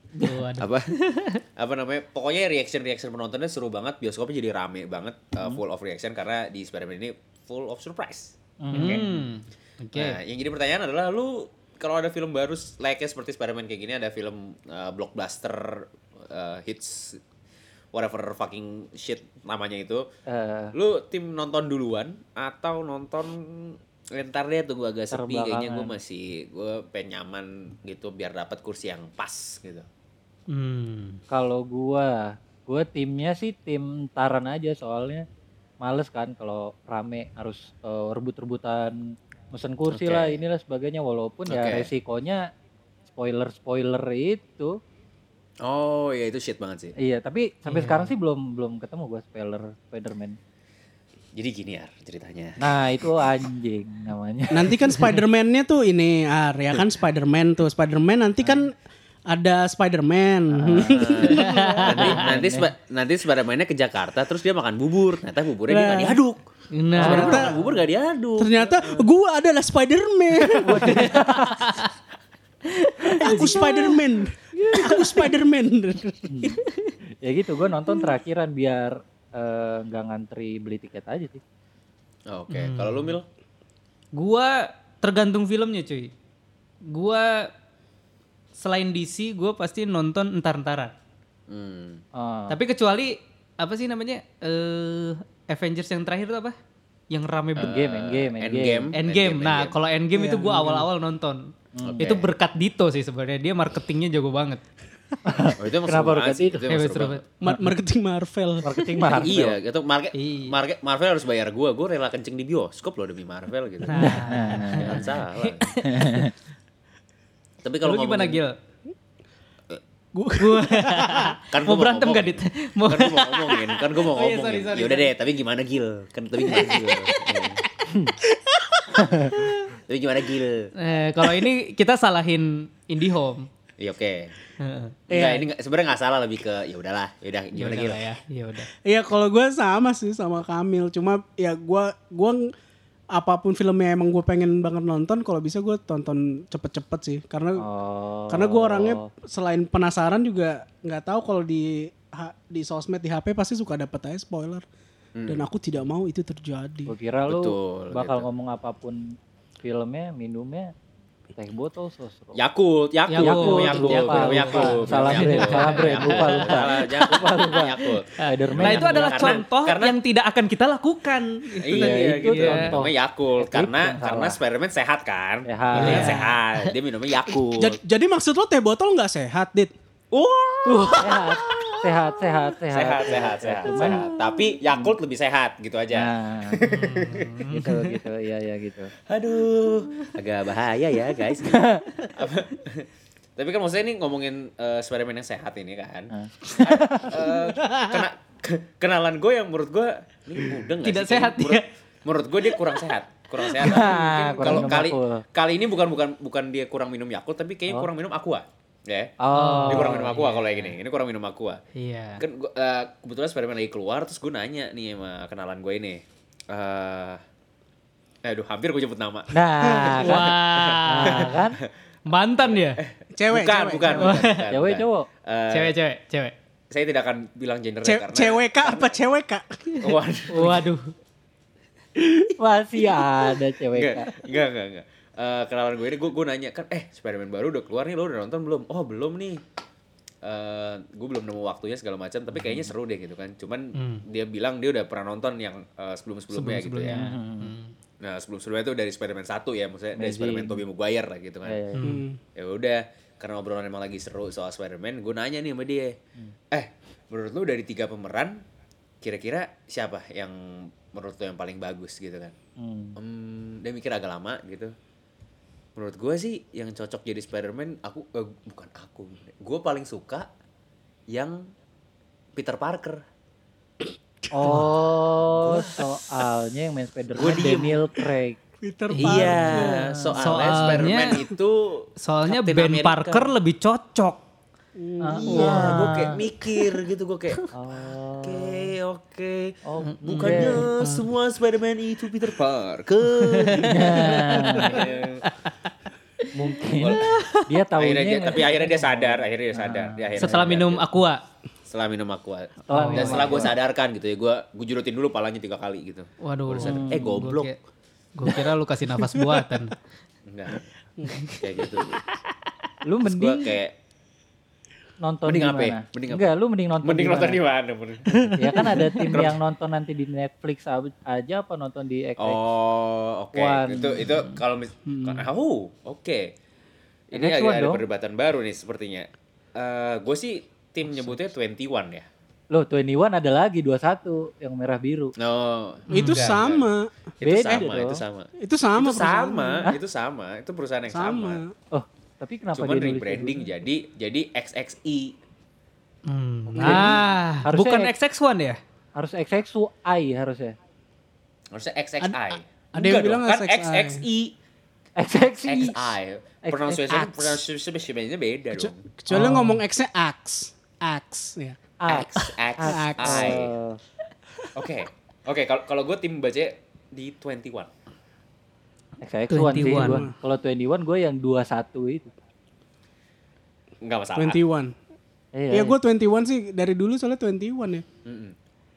Speaker 3: apa apa namanya pokoknya reaction reaction penontonnya seru banget bioskopnya jadi rame banget uh, full of reaction karena di Spiderman ini full of surprise Oke.
Speaker 2: Hmm. Oke.
Speaker 3: Nah, yang jadi pertanyaan adalah lu kalau ada film baru s- layaknya seperti Spiderman kayak gini ada film uh, blockbuster uh, hits whatever fucking shit namanya itu
Speaker 6: Eh,
Speaker 3: lu tim nonton duluan atau nonton "Eh, ntar deh tunggu agak
Speaker 6: Ntar
Speaker 3: sepi kayaknya gue
Speaker 6: belakangan.
Speaker 3: masih gue pengen nyaman gitu biar dapat kursi yang pas gitu
Speaker 2: Hmm.
Speaker 6: kalau gua, gua timnya sih tim Taran aja soalnya males kan kalau rame harus eh, rebut-rebutan mesen kursi
Speaker 3: Oke.
Speaker 6: lah inilah sebagainya walaupun ya
Speaker 3: Oke.
Speaker 6: resikonya spoiler-spoiler itu.
Speaker 3: Oh ya itu shit banget sih.
Speaker 6: Iya, tapi sampai sekarang sih belum belum ketemu gua spoiler Spiderman.
Speaker 3: Jadi gini ya ceritanya.
Speaker 6: Nah, itu anjing namanya.
Speaker 1: Nanti kan Spider-Man-nya tuh ini, ah, ya kan Spider-Man tuh. Spider-Man nanti kan ada Spider-Man.
Speaker 3: Ah. nanti nanti seba, nanti Spiderman-nya ke Jakarta terus dia makan bubur. Ternyata buburnya dia nggak diaduk.
Speaker 2: Nah,
Speaker 3: Spiderman makan bubur nggak diaduk.
Speaker 1: Ternyata gua adalah Spider-Man. Aku Spider-Man. Aku Spider-Man.
Speaker 6: ya gitu, gua nonton terakhiran biar eh, nggak ngantri beli tiket aja sih.
Speaker 3: Oke, kalau lu mil
Speaker 2: gua tergantung filmnya, cuy. Gua selain DC, gua pasti nonton entar-entaran.
Speaker 3: Hmm.
Speaker 6: Ah,
Speaker 2: Tapi kecuali apa sih namanya? Eh Avengers yang terakhir itu apa? Yang rame banget.
Speaker 6: game, endgame, endgame.
Speaker 3: Endgame.
Speaker 2: Endgame. Nah, kalau Endgame itu gua awal-awal nonton. Itu berkat Dito sih sebenarnya. Dia marketingnya jago banget.
Speaker 3: Oh, itu emang seru
Speaker 6: Kenapa lu
Speaker 3: banget
Speaker 6: ganti
Speaker 3: sih,
Speaker 6: itu?
Speaker 3: itu emang
Speaker 2: Hebat
Speaker 3: seru banget.
Speaker 2: banget.
Speaker 1: Ma- Marketing Marvel.
Speaker 6: Marketing mahal.
Speaker 3: Iya, gitu. Market,
Speaker 2: Iya.
Speaker 3: market, Marvel harus bayar gua. Gua rela kencing di bioskop loh demi Marvel gitu.
Speaker 2: Nah.
Speaker 3: Jangan salah. Tapi
Speaker 2: Kalau
Speaker 3: kalau
Speaker 2: gimana
Speaker 3: ngomongin-
Speaker 2: Gil?
Speaker 1: Gua-
Speaker 2: Gua-
Speaker 3: Kan
Speaker 2: mau
Speaker 3: gua
Speaker 2: berantem gak
Speaker 3: ngomong.
Speaker 2: Dit? Mau
Speaker 3: Kan gue mau ngomongin, kan gue mau
Speaker 2: Oh iya,
Speaker 3: ngomongin.
Speaker 2: sorry, sorry,
Speaker 3: Yaudah deh, tapi gimana Gil? Kan tapi gimana Gil? Hmm. tapi gimana Gil?
Speaker 2: Eh, kalau ini kita salahin IndiHome.
Speaker 3: Ya oke.
Speaker 2: Heeh.
Speaker 6: Iya.
Speaker 3: Enggak, ini nggak- sebenarnya nggak salah lebih ke ya udahlah, ya udah gimana
Speaker 2: Yaudah
Speaker 3: Gil?
Speaker 2: lah ya. Ya udah.
Speaker 1: Iya kalau gue sama sih sama Kamil cuma ya gua gua ng- apapun filmnya emang gue pengen banget nonton kalau bisa gue tonton cepet-cepet sih karena
Speaker 6: Oh.
Speaker 1: karena gue orangnya selain penasaran juga nggak tahu kalau di ha- di sosmed di HP pasti suka dapet aja spoiler dan aku tidak mau itu terjadi
Speaker 6: Gue kira lu
Speaker 3: Betul,
Speaker 6: bakal
Speaker 3: gitu.
Speaker 6: ngomong apapun filmnya, minumnya, teh botol sosro.
Speaker 3: Ya. Yakult, Yakult,
Speaker 2: Yakult,
Speaker 3: Yakult, Yakult,
Speaker 2: Yakult.
Speaker 3: Yakult.
Speaker 6: Salah
Speaker 3: Yakult.
Speaker 6: brand, salah brand. Lupa,
Speaker 3: Yakult.
Speaker 6: lupa.
Speaker 3: Salah, jangan lupa, lupa. Yakult.
Speaker 6: Spiderman
Speaker 2: Nah
Speaker 6: yang
Speaker 2: itu adalah
Speaker 3: Karena-
Speaker 2: contoh
Speaker 3: karena-
Speaker 2: yang tidak akan kita lakukan. Itu
Speaker 3: Iya,
Speaker 2: tadi.
Speaker 3: gitu.
Speaker 2: Iya.
Speaker 3: Namanya Yakult
Speaker 6: Itu
Speaker 3: karena
Speaker 6: yang salah.
Speaker 3: karena Spiderman sehat kan?
Speaker 6: Sehat.
Speaker 3: Dia kan
Speaker 2: Iya.
Speaker 3: sehat. Dia minumnya Yakult.
Speaker 1: Ja- jadi maksud lo teh botol nggak sehat, Dit?
Speaker 3: Wah.
Speaker 6: Uh, sehat, sehat, sehat, sehat,
Speaker 3: Sehat, sehat, sehat,
Speaker 6: Cuman,
Speaker 3: sehat. Tapi Yakult lebih sehat gitu aja.
Speaker 6: nah, gitu, gitu, ya, ya, gitu.
Speaker 3: Aduh, agak bahaya ya guys. Apa- Tapi kan maksudnya ini ngomongin eh, Spiderman yang sehat ini kan.
Speaker 6: Hah.
Speaker 3: Eh, kena, ke- kenalan gue yang menurut gue ini udah
Speaker 2: Tidak sehat
Speaker 3: menurut,
Speaker 2: dia.
Speaker 3: menurut gue dia kurang sehat. Kurang sehat.
Speaker 6: Nah,
Speaker 3: Mungkin
Speaker 6: kurang
Speaker 3: kalau
Speaker 6: minum
Speaker 3: kali
Speaker 6: Yakult.
Speaker 3: kali ini bukan bukan bukan dia kurang minum Yakult tapi kayaknya
Speaker 6: Oh.
Speaker 3: kurang minum Aqua. Ya.
Speaker 6: Oh,
Speaker 3: dia kurang minum Aqua kalau kayak gini. Ini kurang minum Aqua
Speaker 2: Iya.
Speaker 3: kan gua, eh, kebetulan Spiderman lagi keluar terus gue nanya nih sama kenalan gue ini eh aduh hampir gue nyebut nama
Speaker 6: nah, kan,
Speaker 2: Wah.
Speaker 6: nah, kan,
Speaker 2: Mantan ya.
Speaker 1: Cewek,
Speaker 3: bukan,
Speaker 1: cewek.
Speaker 3: bukan, bukan, bukan,
Speaker 6: cewek
Speaker 3: bukan.
Speaker 6: cowok,
Speaker 3: Eh,
Speaker 2: Cewek cewek cewek.
Speaker 3: saya tidak akan bilang gender
Speaker 1: Ce-
Speaker 3: karena Hmm.
Speaker 1: cewek kak apa cewek kak?
Speaker 3: waduh
Speaker 2: Waduh.
Speaker 6: masih ada cewek kan?
Speaker 3: enggak
Speaker 6: Kak.
Speaker 3: enggak enggak, enggak. Eh, kenalan gue ini gue gue nanya kan eh Spiderman baru udah keluar nih lo udah nonton belum oh belum nih Eh, gue belum nemu waktunya segala macam tapi kayaknya
Speaker 1: Hmm.
Speaker 3: seru deh gitu kan cuman dia bilang dia udah pernah nonton yang sebelum sebelumnya gitu ya nah sebelum sebelumnya itu dari Spiderman 1 ya maksudnya dari Spiderman Tobey Maguire lah gitu kan
Speaker 6: Ya, ya, ya.
Speaker 3: ya udah karena obrolan emang lagi seru soal Spider-Man gue nanya nih sama dia eh menurut lu dari tiga pemeran kira-kira siapa yang menurut lu yang paling bagus gitu kan
Speaker 6: Hmm.
Speaker 3: Hmm, dia mikir agak lama gitu menurut gue sih yang cocok jadi Spider-Man aku eh, bukan aku gue paling suka yang Peter Parker
Speaker 6: Oh, soalnya yang main
Speaker 3: Gua
Speaker 6: Spiderman
Speaker 3: diem.
Speaker 6: Daniel Craig.
Speaker 1: Peter
Speaker 3: iya soalnya,
Speaker 2: Soalnya-
Speaker 3: Spider-Man itu
Speaker 2: Soalnya
Speaker 3: Captain
Speaker 2: Ben
Speaker 3: America.
Speaker 2: Parker lebih cocok.
Speaker 3: iya gue kayak mikir gitu gue kayak
Speaker 6: Oh,
Speaker 3: Oke, oke.
Speaker 6: Oh,
Speaker 3: Bukannya semua Spider-Man itu Peter Parker.
Speaker 6: mungkin dia tahunya
Speaker 3: akhirnya dia,
Speaker 6: yang-
Speaker 3: tapi akhirnya dia sadar, akhirnya dia sadar. Dia akhirnya
Speaker 2: Setelah
Speaker 3: sadar
Speaker 2: minum
Speaker 3: gitu.
Speaker 2: aqua.
Speaker 3: setelah minum aqua.
Speaker 6: Setelah
Speaker 3: Dan
Speaker 6: minum
Speaker 3: setelah gue
Speaker 6: aqua.
Speaker 3: sadarkan gitu ya, gue gue jurutin dulu palanya tiga kali gitu.
Speaker 2: Waduh.
Speaker 3: Baru sadar, eh, goblok.
Speaker 2: Gue kira lu kasih nafas buatan.
Speaker 3: Enggak. kayak gitu.
Speaker 6: lu
Speaker 3: Terus gue
Speaker 6: mending
Speaker 3: kayak
Speaker 6: nonton
Speaker 3: Mending
Speaker 6: di
Speaker 3: apa ya?
Speaker 6: mana?
Speaker 3: Mending apa?
Speaker 6: Enggak, lu mending nonton
Speaker 3: mending
Speaker 6: di
Speaker 3: nonton
Speaker 6: mana?
Speaker 3: di mana? mending.
Speaker 6: ya kan ada tim yang nonton nanti di Netflix ab- aja apa nonton di X
Speaker 3: Oh, oke.
Speaker 6: One. Hmm.
Speaker 3: Itu itu kalau mis- oh, oke. Ini
Speaker 6: Next
Speaker 3: agak
Speaker 6: one
Speaker 3: ada
Speaker 6: dong.
Speaker 3: perdebatan baru nih sepertinya. Eh, gue sih tim nyebutnya 21 ya.
Speaker 6: Loh, 21 ada lagi 21 yang merah biru.
Speaker 3: No.
Speaker 1: Itu
Speaker 3: Enggak,
Speaker 1: sama.
Speaker 3: Itu
Speaker 6: Beda
Speaker 3: sama,
Speaker 6: dong.
Speaker 3: itu sama.
Speaker 1: Itu sama.
Speaker 3: itu
Speaker 1: perusahaan.
Speaker 3: sama, itu sama, itu perusahaan yang sama.
Speaker 1: Sama.
Speaker 6: Oh, tapi kenapa
Speaker 3: Cuman
Speaker 6: dia nulisnya
Speaker 3: rebranding
Speaker 6: biru?
Speaker 3: jadi jadi E. XXI.
Speaker 2: Hmm. Ah,
Speaker 6: Harusnya-
Speaker 2: bukan XX1 ya?
Speaker 6: gitu? Harus XXUI harusnya.
Speaker 3: Harusnya XXI.
Speaker 1: ada yang
Speaker 3: Enggak
Speaker 1: bilang
Speaker 3: dong, kan
Speaker 1: XXI.
Speaker 3: XXI.
Speaker 6: XXI.
Speaker 3: XI.
Speaker 6: X-
Speaker 3: Pronunciation
Speaker 6: X.
Speaker 3: pronunciation-nya beda
Speaker 1: Kecu-
Speaker 3: dong.
Speaker 1: Kecuali ngomong X-nya ax. Ax ya.
Speaker 6: X.
Speaker 1: X.
Speaker 3: XXI.
Speaker 6: Oh,
Speaker 3: Oke. Oke, kalau kalau gue tim baca di 21.
Speaker 6: XX1
Speaker 2: 21.
Speaker 6: sih gua. Kalau 21 gue yang 21 itu.
Speaker 3: Enggak masalah.
Speaker 1: 21.
Speaker 6: Iya.
Speaker 1: Iya gue 21 sih dari dulu soalnya 21 ya.
Speaker 3: Mm-mm.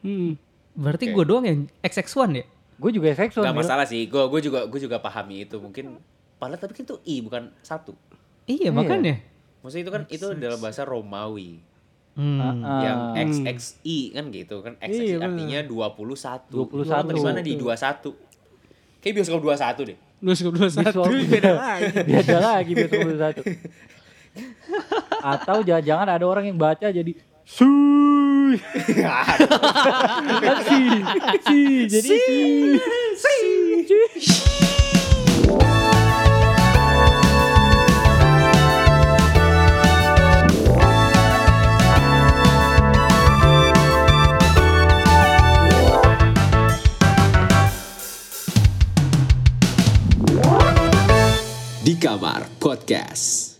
Speaker 1: Hmm.
Speaker 2: Berarti
Speaker 3: Oke.
Speaker 2: gue doang yang XX1 ya?
Speaker 6: Gue juga XX1.
Speaker 3: Enggak
Speaker 6: Gil.
Speaker 3: masalah sih. Gue gue juga gue juga pahami itu mungkin padahal tapi kan itu I bukan satu.
Speaker 2: Iya, makanya.
Speaker 3: Maksudnya itu kan itu dalam bahasa Romawi.
Speaker 2: Hmm.
Speaker 6: Ah,
Speaker 3: yang XXI kan gitu kan XXI
Speaker 1: Iya, bener.
Speaker 3: artinya 21
Speaker 6: 21.
Speaker 3: di mana di 21 kayak bioskop 21 deh
Speaker 1: 21
Speaker 6: Visual-
Speaker 1: beda lagi.
Speaker 6: Beda lagi besok 21. Atau jangan-jangan ada orang yang baca jadi suy. Kan si, si, jadi si.
Speaker 4: Di Kamar Podcast.